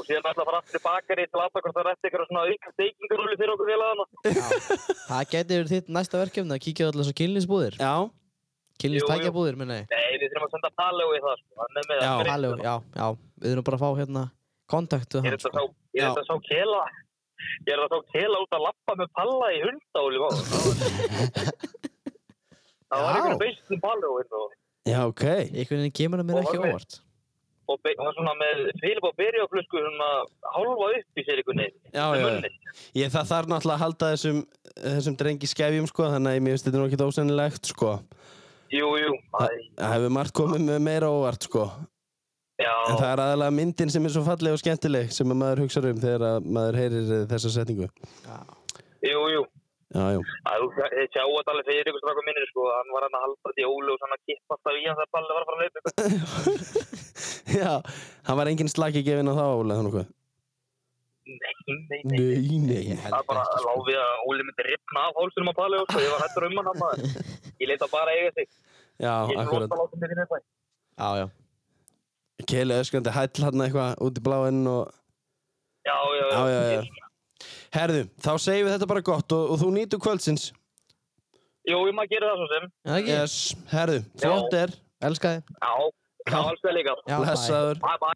Speaker 3: og síðan ætla að fara aftur í bakari til aðtaka hvort það rétti eitthvað svona auka steikingarúli fyrir okkur félagana.
Speaker 2: Það geti verið þitt næsta verkefni að kíkja á allar svo kynlýsbúðir.
Speaker 1: Já,
Speaker 2: Kynlýstækjabúðir, minna ég.
Speaker 3: Nei, við þurfum að senda Tali í það, sko. Hann er með
Speaker 1: Já,
Speaker 3: það.
Speaker 2: Halló, já, já. Við erum bara að fá hérna kontaktu
Speaker 3: Ég
Speaker 2: hann,
Speaker 3: er þetta
Speaker 2: sko.
Speaker 3: sá, ég er þetta sá kela. Ég er þetta sá kela út að lappa með palla í hundáli, vá. Það var
Speaker 1: Já.
Speaker 3: einhvern veist um Tali og...
Speaker 1: já, ok
Speaker 2: Einhvern veginn kemur það mér ekki
Speaker 3: Og-
Speaker 2: óvart.
Speaker 3: Og be- hann var svona með Filip og Berjaflösku svona hálfa upp í sér einhvern veginn.
Speaker 1: Já,
Speaker 3: Með
Speaker 1: já, já.
Speaker 3: munni.
Speaker 1: Ég það þarf náttúrulega að halda þessum, þessum drengi skefjum, sko, þannig að ég mér finnst þetta nú ekkert ósennilegt, sko
Speaker 3: Jú, jú. Æ,
Speaker 1: Það hefur margt komið með meira óvart, sko
Speaker 3: já.
Speaker 1: En það er aðalega myndin sem er svo falleg og skemmtileg sem að maður hugsa um þegar að maður heyrir eh, þessa setningu
Speaker 3: Jú, jú.
Speaker 1: Já, já
Speaker 3: Að Þú sjá- þið sjáu þetta alveg fyrir ykkur strákum minnir sko. Hann var hann að halda þetta í ólu og svona kippast af í hann þegar Palli var að fara að laupa.
Speaker 1: Já, hann var engin slaki gefinn á þá Óla þannig hvað
Speaker 3: Nei, nei, nei.
Speaker 1: Nei, nei
Speaker 2: Ég held
Speaker 3: Það er bara
Speaker 2: ekki, sko.
Speaker 3: lág við að Óli myndi ripna af hálsunum að Palli og sko. Ég var hættur um hann að maður. Ég leita bara að eiga sig.
Speaker 1: Já,
Speaker 3: Ég er
Speaker 1: akkurat
Speaker 3: lóta látum mér finna eitthvað.
Speaker 2: Já, já.
Speaker 1: Keili öskrandi hæll hann eitthvað út í bláinn og
Speaker 3: Já, já,
Speaker 1: Já, já, já Herðu, þá segjum við þetta bara gott og, og þú nýtur kvöldsins
Speaker 3: Jú, ég maður gerir það svo sem.
Speaker 2: Já, ekki?
Speaker 1: Yes, herðu, flott er
Speaker 2: Elska þið.
Speaker 3: Já, já, alls vegar líka.
Speaker 2: Já,
Speaker 1: Blessaður
Speaker 3: Bye, bye.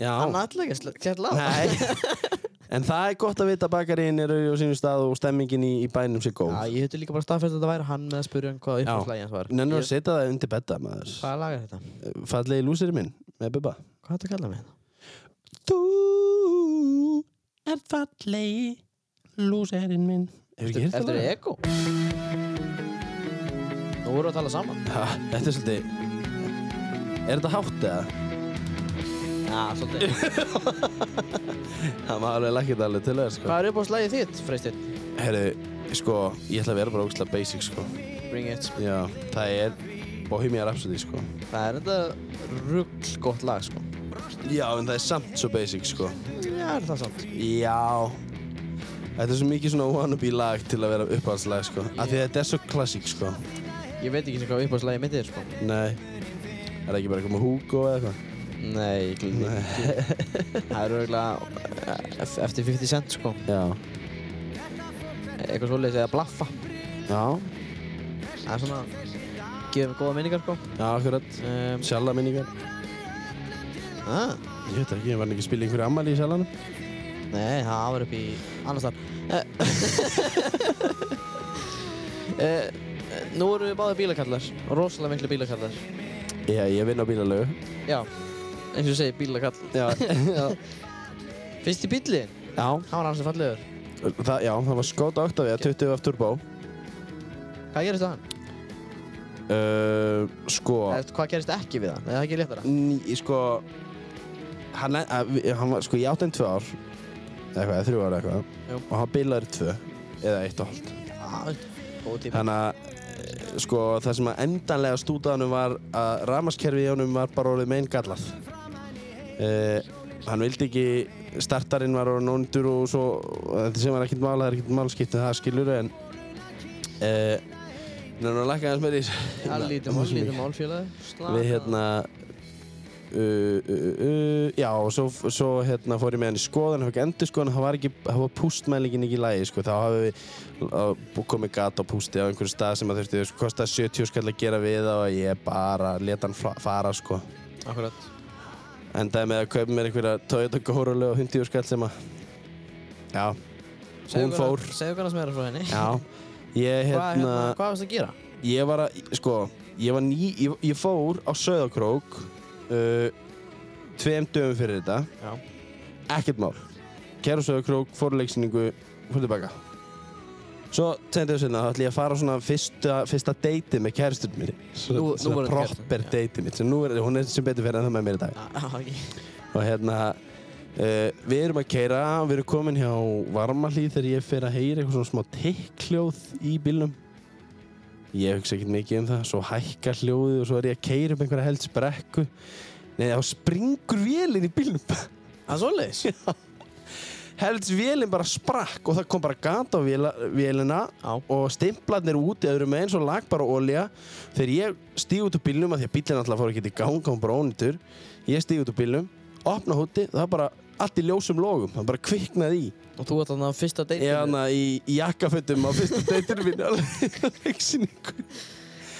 Speaker 1: Já,
Speaker 2: Hann ætla ekki að kjært lág.
Speaker 1: nei En það er gott að vita að bakarinn er á sínum stað og stemmingin í, í bænum sé góð
Speaker 2: Já, ég höfði líka bara staðfært að þetta væri hann með að spyrja hann hvað upphaldslægi hans var.
Speaker 1: Nennur að
Speaker 2: Ég-
Speaker 1: setja það undir bedda maður
Speaker 2: Hvaða lag er þetta?
Speaker 1: Fallegi lúsirinn minn með bubba
Speaker 2: Hvað er þetta að kalla mig þetta?
Speaker 1: Þú er fallegi lúserinn minn Hefur ekki hirt
Speaker 2: Þetta
Speaker 1: það?
Speaker 2: er Ego. Nú vorum við að tala saman.
Speaker 1: Ha, þetta er svolítið Er þetta hátt eða?
Speaker 2: Já, svolítið.
Speaker 1: Það maður alveg lakkið alveg til það sko
Speaker 2: Hvað er upp á slæðið þitt, Freysteinn?
Speaker 1: Herru, sko, ég ætla að vera bara ógslag basic sko
Speaker 2: Bring it.
Speaker 1: Já, það er Bohemian Rhapsody sko
Speaker 2: Það er þetta ruggl gott lag, sko.
Speaker 1: Já, en það er samt svo basic sko
Speaker 2: Já, er það samt.
Speaker 1: Já Þetta er svo mikið svona wannabe lag til að vera uppáhaldslag sko Af því að þetta er svo klassík sko
Speaker 2: Ég veit ekki sem hvað uppáðslægi mitt er, sko.
Speaker 1: Nei Er það ekki bara eitthvað með Hugo eða eitthvað?
Speaker 2: Nei, ég glýði ekki. Það er örgulega eftir 50 cent, sko.
Speaker 1: Já
Speaker 2: Eitthvað svolítið eða blaffa.
Speaker 1: Já,
Speaker 2: Það er svona, gefur mig góða minningar, sko.
Speaker 1: já, akkurat
Speaker 2: Um,
Speaker 1: Sjalla minningar
Speaker 2: ah,
Speaker 1: Ég veit ekki, ég var ekki að spila í einhverju ammali í sjallanum
Speaker 2: nei, það var upp í annars Eh, þar. eh, Uh, uh, nú erum við báðið bílakallar, rosalega miklu bílakallar.
Speaker 1: Já, ég vinn á bílalögu.
Speaker 2: Já, eins og ég segi bílakall
Speaker 1: Já, já.
Speaker 2: Fyrst í bílinn,
Speaker 1: já.
Speaker 2: hann var hans að fallegur
Speaker 1: Það, já, það var skóta Octavia, 20 af turbo.
Speaker 2: Hvað gerist það hann?
Speaker 1: Uh, sko,
Speaker 2: Eftir, hvað gerist ekki við hann? Eða það er ekki léttara?
Speaker 1: ný, sko, hann, le- að, við- hann var, sko, ég átti hann tvö ár, eða eitthvað, eða þrjú ár eða eitthvað,
Speaker 2: Jú.
Speaker 1: og hann bilaði í tvö, eða eitt og hálft.
Speaker 2: Já, góð tíma
Speaker 1: Þannig að, eh, sko, það sem að endanlega stúta honum var að ramaskerfi í honum var bara orðið mein gallað. Uh, hann vildi ekki, startarinn var orðin ondur og svo, þetta sem var ekkert mál, það er ekkert málskipti, það skilur en, uh, Nefnum að lækka aðeins með því
Speaker 2: Það er lítið mál, lítið málfélagi
Speaker 1: við hérna uh, uh, uh, uh, já og svo, svo hérna fór ég með hann í skoðan hann fekk endur skoðan, það var ekki það var pústmælingin ekki í lagi sko. þá hafi við uh, komið gat á pústi á einhverju stað sem að þurfti sko, kostaði 70 skall að gera við það og ég bara leta hann fra- fara sko
Speaker 2: Akkurat
Speaker 1: endaði með að kaupa mér einhverja Toyota Corolla og 100 skall sem að já, hún fór
Speaker 2: Segðu hvernig sem er frá henni
Speaker 1: já, ég
Speaker 2: Hvað, hérna,
Speaker 1: hérna
Speaker 2: hvað varst að gera?
Speaker 1: ég var að, sko, ég var ný, ég, ég fór á Söðakrók uh, tveim dögum fyrir þetta.
Speaker 2: Já.
Speaker 1: Ekkert mál. Kæru Söðakrók, fór í leiksýningu, fór tilbaka. Svo, tegndi þess vegna, þá ætla ég að fara á svona fyrsta, fyrsta deiti með kærastunum minni.
Speaker 2: Nú- nú
Speaker 1: svona
Speaker 2: voru þetta
Speaker 1: proper
Speaker 2: kærastan, já.
Speaker 1: deiti mitt. Svo nú er, hún er sem betur fyrir en það með mér í dag.
Speaker 2: Já, ekki
Speaker 1: Og hérna, uh, við erum að keira, við erum komin hjá varmalíð þegar ég fer að heyra eitthvað svona smá tikkljóð í bílnum. Ég hugsa ekkert mikið um það, svo hækkar hljóðið og svo er ég að keira upp einhverja held brekku. Nei, þá springur vélinn í bílnum.
Speaker 2: Það er svoleiðis
Speaker 1: Helds vélinn bara sprakk og það kom bara gata á véla, vélina
Speaker 2: Já.
Speaker 1: og stimplarnir úti öðru með eins og lag bara olja þegar ég stíg út úr bílnum að því að bílinn alltaf fór ekki til ganga hún bara ónýtur ég stíg út úr bílnum, opna húti það er bara allt í ljósum logum það bara kviknaði í
Speaker 2: Og þú ert þarna á fyrsta date
Speaker 1: ég hana í, í jakkafötum á fyrsta deytinu mín alveg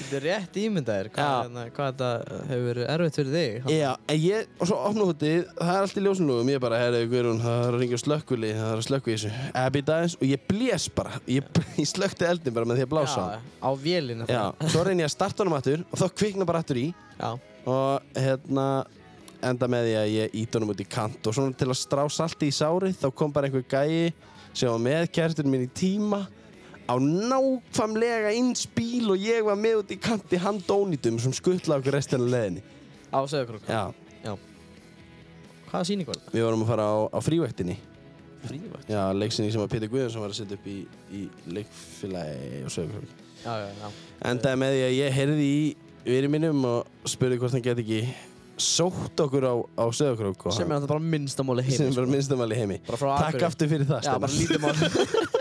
Speaker 2: Þetta er rétt ímyndaðir hvað,
Speaker 1: Já.
Speaker 2: hérna, hvað þetta hefur verið erfitt fyrir þig
Speaker 1: Já, en ég, og svo opna húti, það er allt í ljósunlugum, ég bara, herru, Guðrún, það er að ringja slökkvili, það er að slökkvi í þessu. Abby Dines, og ég blés bara, ég, ég slökkti eldin bara með því að blása hann.
Speaker 2: Á vélina
Speaker 1: Já, svo reyni ég að starta honum aftur og þá kvikna bara aftur í
Speaker 2: Já.
Speaker 1: og hérna enda með því að ég ít honum út í kant og svona til að strá salti í sárið þá kom bara einhver gæi sem var með kærtun minn í tíma á nákvæmlega eins bíl og ég var með út í kant í handónýtum sem skuttlaði okkur restina af leiðinni.
Speaker 2: Á sögurkrok
Speaker 1: Já,
Speaker 2: Hvaða sýning var þetta?
Speaker 1: við vorum að fara á, á frívæktinni.
Speaker 2: Frívakt
Speaker 1: Já, leiksinni sem að Pétur Guðjónsson var að setja upp í, í leikfélagi og sögur.
Speaker 2: Já, já, já
Speaker 1: Endaði með því að ég heyrði í viri mínum og spurði hvort hann geti ekki sótt okkur á, á Söðakrók og
Speaker 2: Sem er
Speaker 1: hann-
Speaker 2: alltaf bara minnstamóli heim
Speaker 1: sem er bara minnstamæli heimi
Speaker 2: Bara frá
Speaker 1: Takk
Speaker 2: Akureyri.
Speaker 1: aftur fyrir það,
Speaker 2: Já, bara
Speaker 1: Steinar
Speaker 2: lítið mál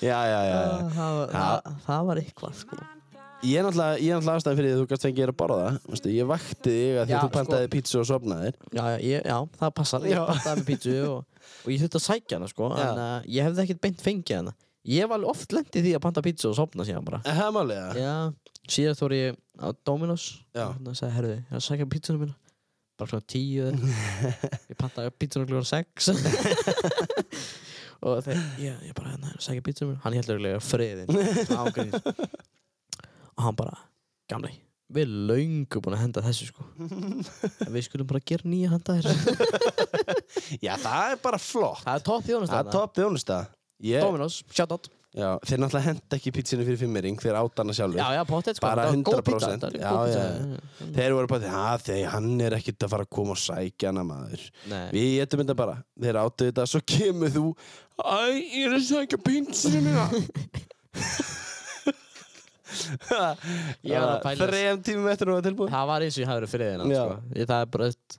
Speaker 1: Já, já, já, já.
Speaker 2: það, það- það, það var eitthvað sko
Speaker 1: Ég er náttúrulega, ég er náttúrulega ástæðan fyrir því að þú gæst fengið að borða Vistu, Ég vakti þig að því
Speaker 2: Já, sko.
Speaker 1: að þú pantaði pítsu og sofnaðir
Speaker 2: Já, já, ég, já það passar Ég
Speaker 1: Já.
Speaker 2: pantaði með pítsu og, og ég þurfti að sækja hana sko
Speaker 1: Já.
Speaker 2: En uh, ég hefði ekkert beint fengið hana Ég var alveg oft lent í því að panta pítsu og sofna síðan bara
Speaker 1: Er það málið, eða?
Speaker 2: Já, síðast voru ég á Dominos
Speaker 1: Já.
Speaker 2: og hérna sagði, herðu, ég er að sækja pítsuna mína bara klokkan tíu eða eitthvað. ég pantaði pítsuna klokkan sex og þegar ég, ég bara, hérna, ég er að sækja pítsuna mína hann heldur eiginlega friðin ágríns og hann bara, gamli við erum löngu búin að henda þessu sko En við skulum bara gera nýja handa þér
Speaker 1: Já, það er bara flott
Speaker 2: það er topp þjónust
Speaker 1: Það er topp þjónusta Ég-
Speaker 2: Dominos, shout out
Speaker 1: Já, Þeir náttúrulega henda ekki pítsinu fyrir fimmering Þeir átta hana sjálfur
Speaker 2: já, já, pottet sko,
Speaker 1: Bara
Speaker 2: þetta var góð
Speaker 1: 100%.
Speaker 2: pizza, þetta
Speaker 1: Já,
Speaker 2: var góð
Speaker 1: já,
Speaker 2: pizza.
Speaker 1: Þeir voru bara því, að þeir, hann er ekkert að fara að koma og sækja hana maður.
Speaker 2: Nei.
Speaker 1: Við getum þetta bara. Þeir áttu þetta, svo kemur þú, æ, ég er að sækja pinsinu mína.
Speaker 2: Ég var að pæla í þessu.
Speaker 1: Þrejum Ah, tímum eftir hún var tilbúin.
Speaker 2: Það var eins og ég hafi verið fyrir þennan
Speaker 1: Já.
Speaker 2: sko. Ég- Það er bara eitt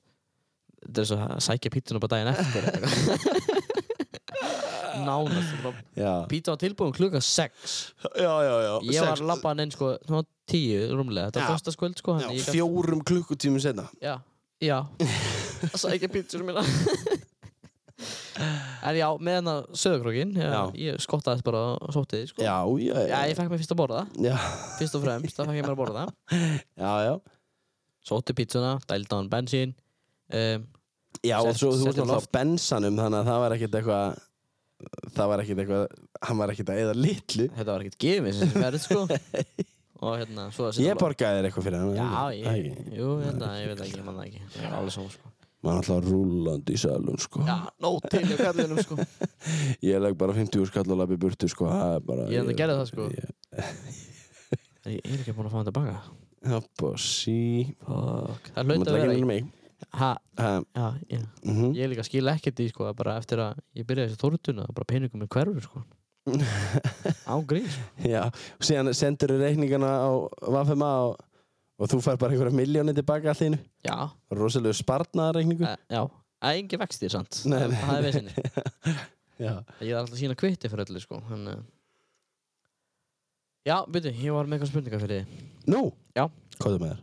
Speaker 2: Þetta er svo að sækja pítsuna bara daginn eftir eða eitthvað. Nánast bara
Speaker 1: Já,
Speaker 2: Pítsa var tilbúin klukka 6
Speaker 1: já, já. já.
Speaker 2: Ég var
Speaker 1: Sex-
Speaker 2: að labba hann inn sko Ná 10 rúmlega Þetta
Speaker 1: Já.
Speaker 2: var föstaskvöld sko
Speaker 1: Já,
Speaker 2: þannig ég gat-
Speaker 1: fjórum klukkutímum senna.
Speaker 2: Já Já Að Sækja pítsuna mína En já, með hennar söðurkrókin
Speaker 1: Já.
Speaker 2: Ég skottaðist bara og sótti því sko
Speaker 1: Já, já,
Speaker 2: Já, ég fekk mér fyrst að borða
Speaker 1: Já,
Speaker 2: Fyrst og fremst, það fekk ég mér að borða
Speaker 1: já, já.
Speaker 2: Sótti pítsuna, dældi á hann bensín um,
Speaker 1: Já, og
Speaker 2: Sett-
Speaker 1: svo þú
Speaker 2: sett
Speaker 1: varst
Speaker 2: á
Speaker 1: alltaf á bensanum, þannig að það var ekkert eitthvað, það var ekkert eitthvað hann var ekkert að eða litlu
Speaker 2: Þetta var ekkert gefið sem verð sko Og hérna svo að
Speaker 1: Ég borgaði þér eitthvað fyrir hann
Speaker 2: Já,
Speaker 1: eða ekki?
Speaker 2: ég,
Speaker 1: Það ekki.
Speaker 2: jú, hérna, ég veit ekki, ég man það ekki Það er alveg svona sko
Speaker 1: Maður er alltaf rúllandi í salum sko
Speaker 2: Já, nóg til hjá kallinum sko
Speaker 1: Ég legg bara 50 úr skall og lappi burtu sko Það er bara
Speaker 2: Ég enda gerði það, sko.
Speaker 1: Ég-
Speaker 2: En Ég er ekki búin að fá hann tilbaka
Speaker 1: Hopp og sí
Speaker 2: Fuck
Speaker 1: Þú
Speaker 2: Það
Speaker 1: mátt
Speaker 2: hlaut að
Speaker 1: leggja inn
Speaker 2: vera í
Speaker 1: í mig.
Speaker 2: Ha,
Speaker 1: Ha,
Speaker 2: já, já
Speaker 1: mhm.
Speaker 2: Ég líka skil ekkert í sko að bara eftir að ég byrjaði þessi þórtuna bara peningum með hverfur sko Án grín sko
Speaker 1: Já, og síðan sendur þér reikningana á Vafema og, og þú fær bara einhverja miljóni tilbaka allt í einu.
Speaker 2: Já,
Speaker 1: Rosalega spartnaða reikningu.
Speaker 2: e, já Að engi vextir samt
Speaker 1: Nei,
Speaker 2: Það
Speaker 1: nei,
Speaker 2: það er vesinni
Speaker 1: Já.
Speaker 2: Ég er alltaf að sína kvitti fyrir öllu sko en, uh... Já, byrju, ég var með eitthvað spurningar fyrir þið
Speaker 1: Nú?
Speaker 2: Já.
Speaker 1: Hvað er með þér?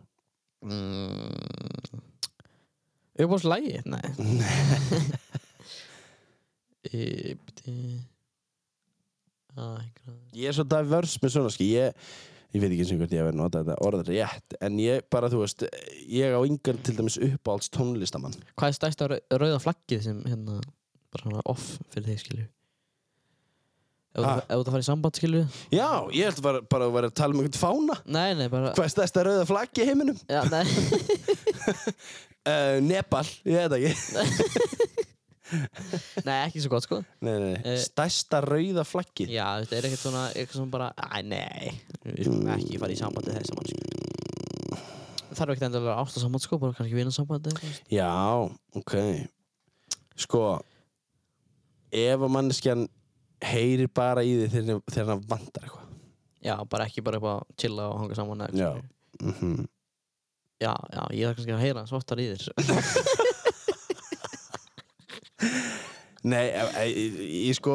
Speaker 2: mm. Uppáðs lægi? Nei Í- byrju. Æ, hvað-
Speaker 1: Ég er svo diverse með svona, ski. Ég, ég veit ekki eins og hvort ég hef verið að nota þetta orðið rétt, en ég bara, þú veist, ég á yngan til dæmis uppáhalds tónlistamann.
Speaker 2: Hvað er stærsta rau- rauða flaggið sem hérna bara svona off fyrir þig skilju Ef þú
Speaker 1: Ha?
Speaker 2: ef þú ert að fara í samband skilju
Speaker 1: Já, ég held bara, bara að vera að tala um einhvern fána.
Speaker 2: Nei, nei, bara
Speaker 1: Hvað er stærsta rauða flaggi í heiminum?
Speaker 2: Já, nei
Speaker 1: Uh, Nepal, ég veit ekki.
Speaker 2: Nei, ekki svo gott sko
Speaker 1: Nei, nei, nei.
Speaker 2: Eh.
Speaker 1: Stærsta rauða flaggi?
Speaker 2: Já, þetta er ekkert svona, eitthvað svona bara, æ, nei, við skulum ekki fara í sambandi þess að mann, sko. Það þarf ekkert endilega ást og samband, sko, bara kannski vinnarsambandi, eitthvað, veist.
Speaker 1: Já, ok Sko Ef að manneskjan heyrir bara í því þegar, þegar hann vantar eitthvað
Speaker 2: Já, bara ekki bara eitthvað að chilla og hanga saman, eða
Speaker 1: Já.
Speaker 2: eitthvað. skilur.
Speaker 1: mm
Speaker 2: Já, já, ég þarf kannski að heyra svartar í þér.
Speaker 1: Nei, e- e- e- ég sko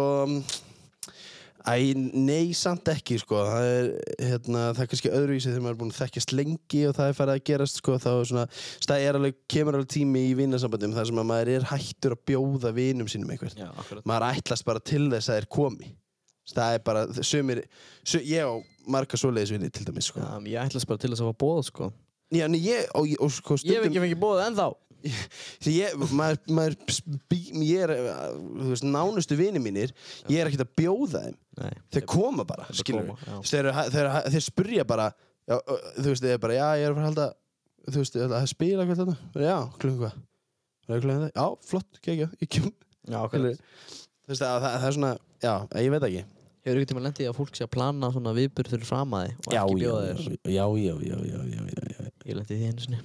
Speaker 1: Æ, nei, samt ekki sko. það er, hérna, það er kannski öðruvísi þegar maður er búin að þekkjast lengi og það er farið að gerast sko, þá er svona, það er alveg, kemur alveg tími í vinnasambandum þar sem að maður er hættur að bjóða vinum sínum eitthvað
Speaker 2: já, akkurat.
Speaker 1: maður ætlast bara til þess að þeir komi það er bara, sumir sum, ég á marga svoleiðis vinni til dæmis sko.
Speaker 2: Já,
Speaker 1: já.
Speaker 2: Um, ég ætlast bara til þess að fá bóð, sko.
Speaker 1: en ég, og, og sko
Speaker 2: Ég hef
Speaker 1: stundum
Speaker 2: ekki fengið bóð ennþá.
Speaker 1: því ég, maður, maður spí, ég er, uh, þú veist, nánustu vini mínir ég er ekkert að bjóða þeim
Speaker 2: Nei,
Speaker 1: þeir koma bara,
Speaker 2: Þeir
Speaker 1: skilur
Speaker 2: koma, já.
Speaker 1: við þeir, eru- þeir, eru- þeir spurja bara já, ö, þú veist, þeir bara, já, ég er að fara að halda þú veist, ég ætla að spila eitthvað þarna já, klukkan hvað Er það klukkan það? já, flott, gegja, ég kem
Speaker 2: já,
Speaker 1: Skilurðu?
Speaker 2: akkurat.
Speaker 1: þú veist, það, það, það er svona, já, ég veit ekki
Speaker 2: Hefur ykkur tíma lendið að fólk sé að plana svona viðbyrð fyrir fram að þig og ekki bjóða þér?
Speaker 1: já, já, já, já, já, já, já.
Speaker 2: Ég lendið því einu sinni.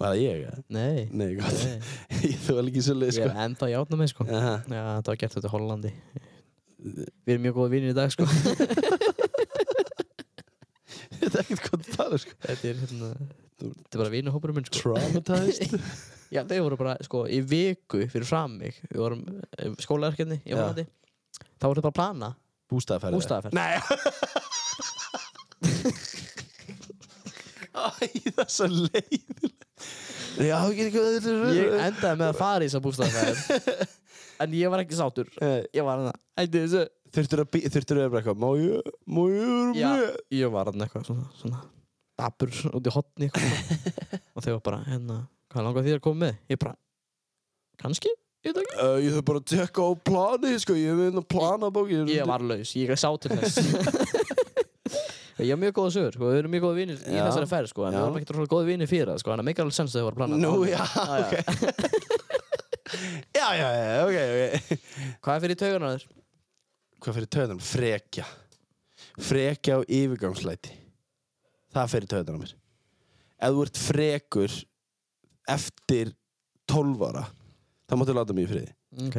Speaker 1: Var það ég? eða?
Speaker 2: Nei,
Speaker 1: Nei, gott.
Speaker 2: nei.
Speaker 1: ég þú var ekki svo leið,
Speaker 2: Ég
Speaker 1: sko.
Speaker 2: er ennþá að játna mig, sko.
Speaker 1: Aha.
Speaker 2: Já, þetta var gert þetta í Hollandi Við erum mjög góða vinir í dag sko
Speaker 1: Þetta er ekkert gott að tala, sko.
Speaker 2: Þetta er hérna Þetta er bara vinahópurinn minn sko
Speaker 1: Traumatized.
Speaker 2: Já, þau voru bara sko í viku fyrir fram mig Við vorum eh, skólaverkefni í
Speaker 1: Já.
Speaker 2: Hollandi Þá voru þetta bara að plana
Speaker 1: Bústaðaferð.
Speaker 2: bústaðaferð
Speaker 1: Nei. Æ, það er svo leið. Já, ég get ekki að þetta
Speaker 2: Ég endaði með að fara í þessa bústaðaferð En ég var ekki sátur Ég var hann Ætti þessu
Speaker 1: Þurftur að býja, þurftur að vera eitthvað, má ég, má ég vera
Speaker 2: Já,
Speaker 1: með?
Speaker 2: ég var hann eitthvað svona, svona Dabur út í hotni Og þau var bara hérna Hvað langar því að koma með? Ég bara Kanski? Ég veit ekki
Speaker 1: Uh, ég þarf bara að tekka á planið, sko, ég hef einn að plana bók.
Speaker 2: ég var laus, ég sá til þess ég hef mjög góða sögur sko. við erum mjög góða vinir í
Speaker 1: Já.
Speaker 2: þessari ferð sko. en
Speaker 1: Já.
Speaker 2: við erum ekkert rosalega góða vinir fyrir það sko. en það meikar alveg sens að þau voru að plana
Speaker 1: Nú,
Speaker 2: þetta.
Speaker 1: já,
Speaker 2: Já, já.
Speaker 1: ok. já, já, já, ok, ok.
Speaker 2: hvað er fyrir taugan á þér?
Speaker 1: hvað fyrir töðan? Frekja Frekja og yfirgangslæti Það fyrir töðan á mér Ef þú ert frekur eftir 12 ára þá máttu láta mig í friði
Speaker 2: ok,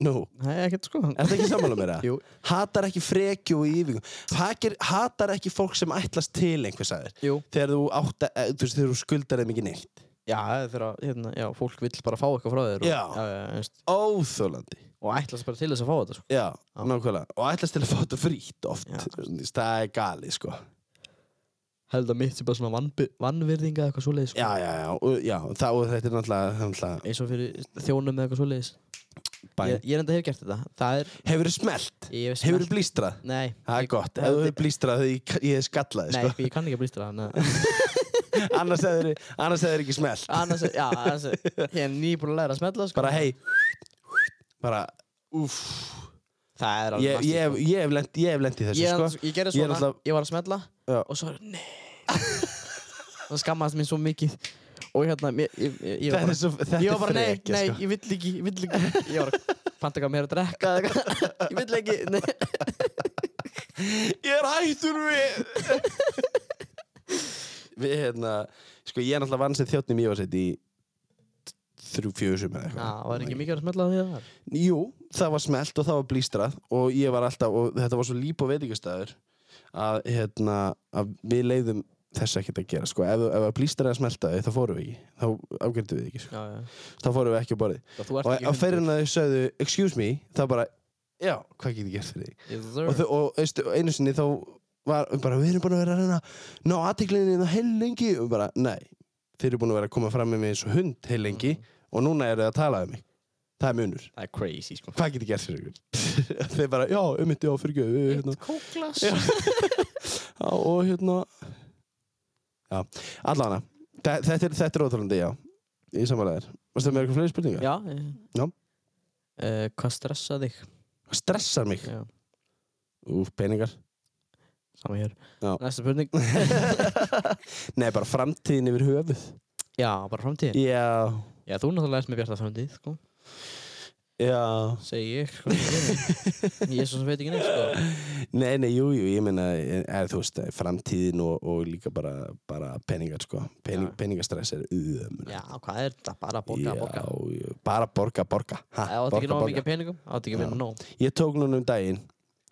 Speaker 1: Nú,
Speaker 2: það Mm. er ekkert sko
Speaker 1: er það ekki sammála mér það?
Speaker 2: Jú.
Speaker 1: Hatar ekki frekju og yfirgang Hakir, Hatar ekki fólk sem ætlast til einhvers aður
Speaker 2: Jú.
Speaker 1: Þegar þú, átta, eh, þú veist, þegar þú skuldar þeim ekki neitt
Speaker 2: já, það er þegar að, hérna, já, fólk vill bara fá eitthvað frá þér og,
Speaker 1: Já.
Speaker 2: Já, já, veist,
Speaker 1: Óþólandi
Speaker 2: og ætla bara til þess að fá þetta sko.
Speaker 1: Já, nákvæmlega Og ætlast til að fá þetta frýtt oft
Speaker 2: Já.
Speaker 1: Það er galið sko
Speaker 2: held að mitt sé bara svona vanbi- vanvirðinga eða eitthvað svoleiðis sko.
Speaker 1: Já, já, já, og- já þá er þetta náttúrulega, náttúrulega
Speaker 2: eins og fyrir þjónum eða eitthvað svoleiðis
Speaker 1: bæn.
Speaker 2: ég, ég enda hef gert þetta það er,
Speaker 1: Hefur þið smelt?
Speaker 2: ég hef
Speaker 1: Hefur þið
Speaker 2: smelt-
Speaker 1: blístrað?
Speaker 2: nei,
Speaker 1: Það er gott, ef þú hefur blístrað þegar ég, ég hef skallað
Speaker 2: nei,
Speaker 1: þig,
Speaker 2: ég kann ekki að blýstra
Speaker 1: sko.
Speaker 2: það
Speaker 1: annars hefur annars hefur ekki smelt
Speaker 2: annars, já, annars, ég er nýbúin að læra að smetla sko.
Speaker 1: bara hei bara úff
Speaker 2: Það er alveg
Speaker 1: Ég, ég, hef- ég hef lent- ég hef lent í þessu,
Speaker 2: ég,
Speaker 1: sko.
Speaker 2: ég gerði
Speaker 1: Ég er
Speaker 2: svona, ég,
Speaker 1: alltaf-
Speaker 2: var að smella
Speaker 1: Já.
Speaker 2: og svo, nei það skammaðist mér svo mikið og hérna, ég, ég, ég, ég var
Speaker 1: Þetta er
Speaker 2: bara
Speaker 1: svo, þetta
Speaker 2: ég
Speaker 1: er
Speaker 2: var bara, nei,
Speaker 1: frekja,
Speaker 2: nei,
Speaker 1: sko.
Speaker 2: ég vill ekki, ég vill ekki ég var að panta eitthvað meira að drekka eða eitthvað. ég vill ekki, nei
Speaker 1: Ég er hættur við Við hérna Sko ég er náttúrulega vann sem þjóttni mjög að setja í þrjú, fjögur sumar eða
Speaker 2: Já,
Speaker 1: eitthvað. Oh
Speaker 2: var ekki mikið að smella því að það
Speaker 1: Jú, það var smelt og það var blístrað og ég var alltaf, og þetta var svo líp og veitingastæður að hérna að við leiðum þess ekkert að gera sko. ef, ef að blístraði að smelta þau, þá fórum við ekki þá afgjörðum við ekki, sko.
Speaker 2: Já, já,
Speaker 1: þá fórum við ekki á borðið
Speaker 2: þú ert
Speaker 1: og
Speaker 2: ekki
Speaker 1: á ferðina þau sögðu, excuse me þá bara, já, hvað getur ég gert fyrir þig og, þau- og veistu, og einu sinni þá var bara, við erum búin að vera að reyna að ná aðtiklinni það heil lengi og bara, nei, þeir eru búin að vera að koma fram með mig eins og hund heil lengi og núna eru þau að tala um mig það er munur,
Speaker 2: Mm, það er crazy, sko
Speaker 1: hvað getur gert fyrir ykkur þeir bara, já, um mitt, já, fyrir göðu hérna.
Speaker 2: kóklas
Speaker 1: Já. Já, og hérna já, allavega Þe- þetta er, þetta er óþálandi, já í samanlegar, varstu það með eitthvað fleiri spurningar?
Speaker 2: Já,
Speaker 1: Já.
Speaker 2: Uh, hvað stressa þig?
Speaker 1: Hvað stressar mig?
Speaker 2: Já.
Speaker 1: Úf, peningar
Speaker 2: Sama hér
Speaker 1: Já.
Speaker 2: Næsta spurning
Speaker 1: Nei, bara framtíðin yfir höfuð
Speaker 2: Já, bara framtíðin
Speaker 1: Já,
Speaker 2: Já, þú náttúrulega erst með bjarta framtíð, sko
Speaker 1: já
Speaker 2: Segir ég, sko Ég er svo sem veit ekki neitt, sko
Speaker 1: Nei, nei, jú, jú, ég meina, er, þú veist, eh, framtíðin og, og líka bara, bara peningar, sko. Pening,
Speaker 2: Já.
Speaker 1: peningastress er uðum.
Speaker 2: Já, hvað er þetta? Bara borga, borga
Speaker 1: Já, bara borga, borga. Ha,
Speaker 2: Það átti ekki nóg mikið af peningum, átti ekki
Speaker 1: Já.
Speaker 2: verið nóg
Speaker 1: Ég tók núna um daginn,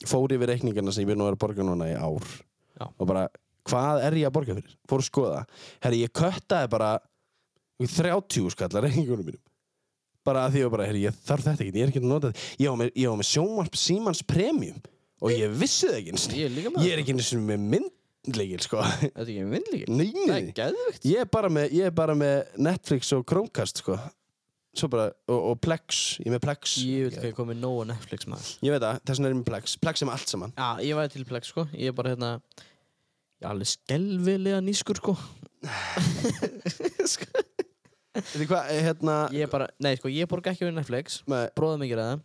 Speaker 1: fór yfir reikningana sem ég verið nú að borga núna í ár.
Speaker 2: Já.
Speaker 1: Og bara, hvað er ég að borga fyrir? Fór að skoða. Herri, ég köttaði bara 30 skallar reikningunum mínum. Bara að því ég var bara, herri, ég þarf þetta ekki, ég er ekki að nota þetta. Ég var með, ég var með sjónvarp Símans Premium og ég vissi það ekki einu sinni.
Speaker 2: Ég er líka með
Speaker 1: Ég er ekki einu sinni með myndleikil sko
Speaker 2: Þetta er ekki vinnleikir
Speaker 1: Nei,
Speaker 2: Það er
Speaker 1: nei
Speaker 2: geðvögt
Speaker 1: Ég er bara með, ég er bara með Netflix og Chromecast sko Svo bara, og, og Plex, ég er með Plex
Speaker 2: Ég vil ekki koma með nóg á Netflix, maður
Speaker 1: Ég veit það, þess vegna er ég með Plex Plex er með allt saman
Speaker 2: Já, ég væri til plex, sko Ég er bara, hérna Ég er alveg skelvilega nýskur, sko Sko,
Speaker 1: Þetta er hvað, eh, hérna
Speaker 2: Ég er bara, nei, sko, ég borga ekki fyrir Netflix
Speaker 1: með,
Speaker 2: Bróðum ekki ræða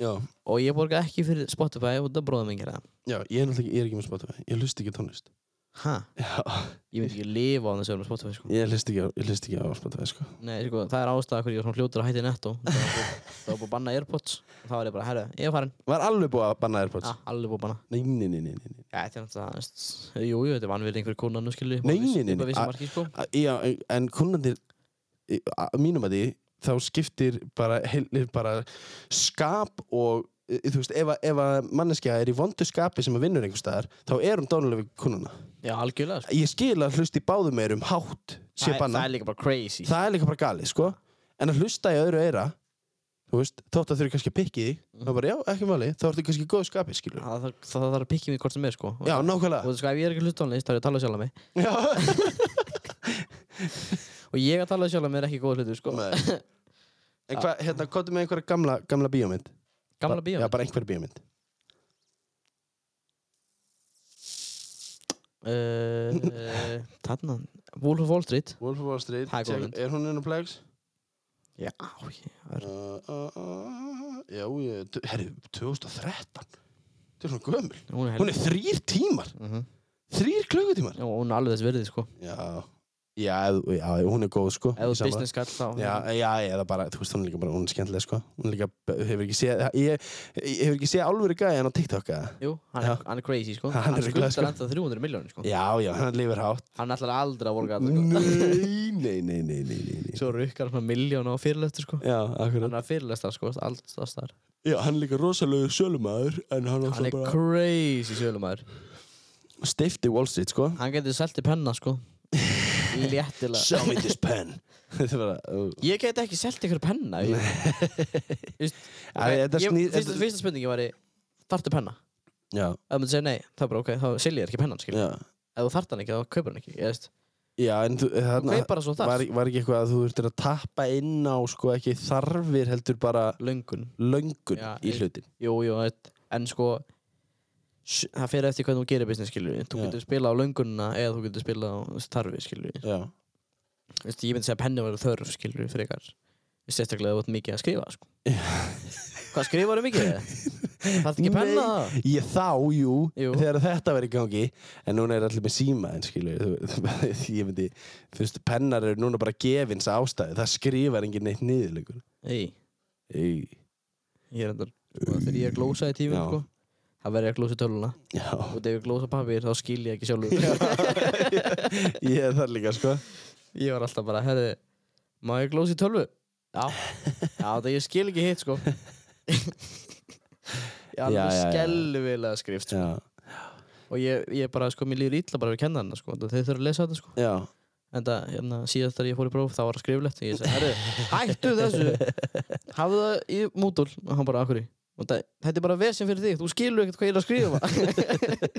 Speaker 1: já,
Speaker 2: Og ég borga ekki fyrir Spotify og það bróðum ekki ræða
Speaker 1: já, ég er náttúrulega ekki, ég er ekki með Spotify Ég hlust ekki á tónlist
Speaker 2: Hæ?
Speaker 1: Já,
Speaker 2: Ég myndi ekki lifa á þessu öðrum Spotify, sko
Speaker 1: ég hlust ekki á, ég hlust ekki á Spotify sko
Speaker 2: Nei, sko, það er ástæða hverju ég var svona fljótur að hætti netto Það var búið- það var búið að banna Airpods og Þá var ég bara, herru, ég er farin
Speaker 1: Var alveg búið að banna
Speaker 2: Já,
Speaker 1: Airpods
Speaker 2: alveg búið að banna
Speaker 1: Nei, nei, nei, nei, nei, nei.
Speaker 2: Já, þetta er náttúrulega, þú veist, jú, jú, þetta er vanvirðing fyrir konan og skilur upp á
Speaker 1: Nei,
Speaker 2: viss-
Speaker 1: nei, nei,
Speaker 2: upp
Speaker 1: nei,
Speaker 2: að vissu
Speaker 1: a-
Speaker 2: marki, sko
Speaker 1: Að- Já, en kunnandir að mínum að því þá skiptir bara, heilir bara skap og e, þú veist, ef, að- ef að manneskja er í vondu skapi sem að vinnur einhver staðar þá er hún dánulega við kunnuna
Speaker 2: Já, algjörlega, sko
Speaker 1: ég skil að hlusta í báðum eirum hátt sé
Speaker 2: Það er- það
Speaker 1: banna,
Speaker 2: er líka bara crazy
Speaker 1: það er líka bara galið sko, en að hlusta í öðru eira þú veist, þótt að þau eru kannski að pikki því þá bara, já, ekki máli, þá ertu kannski í góðu skapi skilur,
Speaker 2: Það þarf- það þarf að pikið mig hvort sem er, sko
Speaker 1: já,
Speaker 2: Og þú
Speaker 1: nákvæmlega
Speaker 2: veist, sko, ef ég er ekki hlut tónlist, þá er ég að tala sjálf að mig
Speaker 1: já,
Speaker 2: Og ég að tala sjálf að mig er ekki góð hlutur, sko Ah.
Speaker 1: Nei. en hvað, hérna, komdu með einhverja gamla, gamla bíómynd
Speaker 2: Gamla bíó
Speaker 1: já, bara einhverja bíómynd
Speaker 2: Eh, Þarna, Wolf of Wall Street
Speaker 1: Wolf of Wall Street
Speaker 2: Það er góð
Speaker 1: tek-
Speaker 2: mynd.
Speaker 1: Er hún inn á Plex?
Speaker 2: Já, ég- það er-
Speaker 1: Uh, uh, uh, já, ég, t- herri, 2013 Þetta er svona gömul
Speaker 2: hún er
Speaker 1: Hún
Speaker 2: helg
Speaker 1: er þrýr tímar,
Speaker 2: Mhm.
Speaker 1: þrýr klukkutímar
Speaker 2: Já, hún er alveg þess verðið, sko
Speaker 1: Já, já, ef- já hún er góð sko
Speaker 2: Ef
Speaker 1: Ég
Speaker 2: þú
Speaker 1: sammála.
Speaker 2: business kall þá
Speaker 1: Já, já, eða bara, þú veist, hún er líka bara, hún er skemmtileg sko Hún er líka, hefur ekki séð Ég, ég hefur ekki séð alvöru gæði hann á TikTok eða?
Speaker 2: Jú, hann,
Speaker 1: Já.
Speaker 2: Er, hann er crazy sko
Speaker 1: Hann er
Speaker 2: skuldar
Speaker 1: rugglaður, sko.
Speaker 2: ennþá 300 miljónir sko
Speaker 1: Já, já, hann lifir hátt
Speaker 2: Hann ætlar aldrei að vorga þetta sko
Speaker 1: Nei, nei, nei, nei, nei, nei, nei.
Speaker 2: Svo rukkar hann miljón á fyrirlestur sko
Speaker 1: Já, akkurat
Speaker 2: Hann er fyrirlestar sko, allt staðar
Speaker 1: Já, hann er líka rosalegu sölumæður En hann,
Speaker 2: Hann er
Speaker 1: bara
Speaker 2: crazy sölumæður
Speaker 1: Steifti Wall Street, sko
Speaker 2: Hann getur selt í penna sko Léttilega
Speaker 1: Show me this pen Þetta er bara uh,
Speaker 2: Ég get ekki selt ykkur penna ég, Vist,
Speaker 1: Æ, þetta
Speaker 2: ég,
Speaker 1: sný-
Speaker 2: fyrsta,
Speaker 1: þetta-
Speaker 2: fyrsta spurningi var Þartu penna?
Speaker 1: Já,
Speaker 2: Ef maður segir nei, það er bara ok, þá selja ég ekki pennan skil
Speaker 1: já
Speaker 2: Ef þú þart hann ekki, þá kaupar hann ekki Ég veist,
Speaker 1: Já, en þú,
Speaker 2: þú
Speaker 1: þarna
Speaker 2: kaupar hann svo
Speaker 1: var,
Speaker 2: þar
Speaker 1: var ekki eitthvað að þú þurftir að tappa inn á sko ekki þarfir heldur bara
Speaker 2: Löngun
Speaker 1: löngun
Speaker 2: Já,
Speaker 1: í
Speaker 2: ég-
Speaker 1: hlutin
Speaker 2: Jú, jú, það er- en sko s- það fer eftir hvernig þú gerir business, skilur við. Þú
Speaker 1: Já.
Speaker 2: getur spilað á löngunina eða þú getur spilað á starfi, skilur við.
Speaker 1: Já,
Speaker 2: Veistu, ég myndi segja að penni var þörf, skilur við, frekar. Sérstaklega ef þú ert mikið að skrifa, sko. Hvað, skrifar þú mikið? Það er ekki penna það
Speaker 1: Ég þá, jú,
Speaker 2: Jú.
Speaker 1: þegar þetta verið í gangi En núna er allir með síma en skilur Ég myndi, þú veist, pennar eru núna bara gefins ástæði Það skrifar enginn neitt niður lengur
Speaker 2: Ei,
Speaker 1: Í-
Speaker 2: ég er endur Þegar ég er að glósa í tífum
Speaker 1: Já.
Speaker 2: sko Það verður ég að glósa í töluna
Speaker 1: Já,
Speaker 2: Og þegar ég glósa pappir þá skil ég ekki sjálfur
Speaker 1: ég er þar líka, sko
Speaker 2: Ég var alltaf bara, herði Má ég glósa í tölvu? Já Já, það ég skil ekki hitt sko Ég er
Speaker 1: Já,
Speaker 2: alveg
Speaker 1: já, já.
Speaker 2: skelvilega skrift sko.
Speaker 1: Já,
Speaker 2: Og ég, ég bara, sko, mér líður illa bara við kennarna sko Þeir þurfa að lesa þetta sko
Speaker 1: já
Speaker 2: en það, hérna, síðast þegar ég fór í próf þá var það skriflegt og ég sagði, herru, hættu þessu hafðu það í mútul og hann bara, akkur í það, þetta er bara vesinn fyrir þig, þú skilur ekkert hvað ég er að skrifa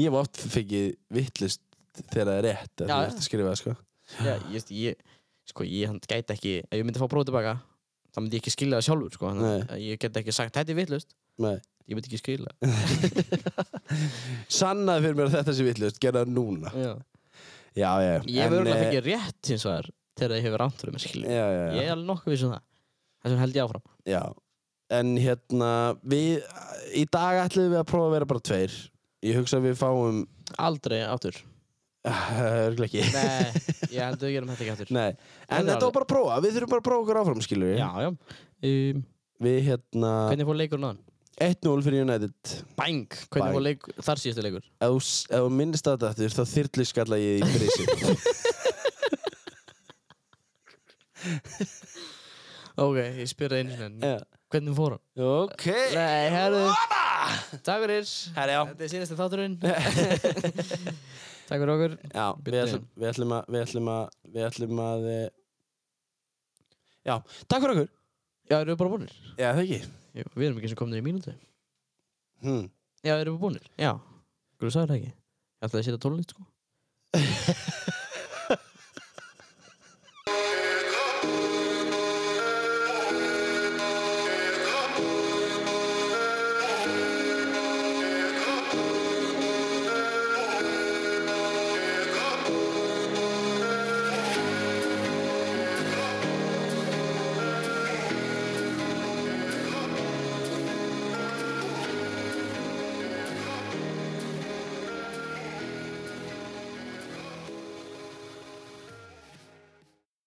Speaker 1: Ég hef oft fengið vittlust þegar það er rétt að þú
Speaker 2: Já, já.
Speaker 1: ert að skrifa, sko
Speaker 2: já, ég, ég, sko, ég hann gæti ekki ef ég myndi fá próf tilbaka þá myndi ég ekki skilja það sjálfur, sko þannig að ég get ekki sagt, þetta er vittlust,
Speaker 1: Nei.
Speaker 2: ég myndi ekki skilja
Speaker 1: Sannaði fyrir mér að þetta sé vittlust, gerða það núna
Speaker 2: já.
Speaker 1: Já, já
Speaker 2: ég
Speaker 1: en,
Speaker 2: hefur
Speaker 1: eh,
Speaker 2: örgulega fengið rétt hins vegar þegar ég hefur rámt fyrir mér, skilja
Speaker 1: Já, já, já
Speaker 2: ég er alveg nokkuð viss um það, þessum held ég áfram
Speaker 1: Já, en hérna við, í dag ætlum við að prófa að vera bara tveir Ég hugsa að við fáum
Speaker 2: aldrei aftur,
Speaker 1: Örglega Eh, ekki
Speaker 2: nei, ég held við gerum þetta ekki aftur
Speaker 1: Nei, en
Speaker 2: Þetta er
Speaker 1: þetta var bara að prófa, við þurfum bara að prófa okkur áfram, skilur við
Speaker 2: já, já, um,
Speaker 1: Við hérna,
Speaker 2: hvernig fór leikurinn á
Speaker 1: 1-0 fyrir United
Speaker 2: Bang! Hvernig
Speaker 1: Bang.
Speaker 2: var leik, þar síðastu leikur?
Speaker 1: Ef þú s- ef þú minnist að þetta þá þyrli skalla ég í brisi
Speaker 2: Ok, ég spyrði einu sinni.
Speaker 1: Já.
Speaker 2: Hvernig fór hann?
Speaker 1: Ok
Speaker 2: Nei, herðu. Takk fyrir.
Speaker 1: Herra, já.
Speaker 2: Þetta er síðasta þátturinn. Takk fyrir okkur.
Speaker 1: Já, við
Speaker 2: Byrja.
Speaker 1: ætlum, við ætlum að, við ætlum að, við ætlum að eh, Já, takk fyrir okkur
Speaker 2: Já, eru við bara búinir?
Speaker 1: Já, það ekki
Speaker 2: Jú, við erum ekki sem komnir í mínútu.
Speaker 1: hm.
Speaker 2: Já, eru við búinir? Já. Hverju sagði það ekki? Ég ætlaði að setja tónlist, sko.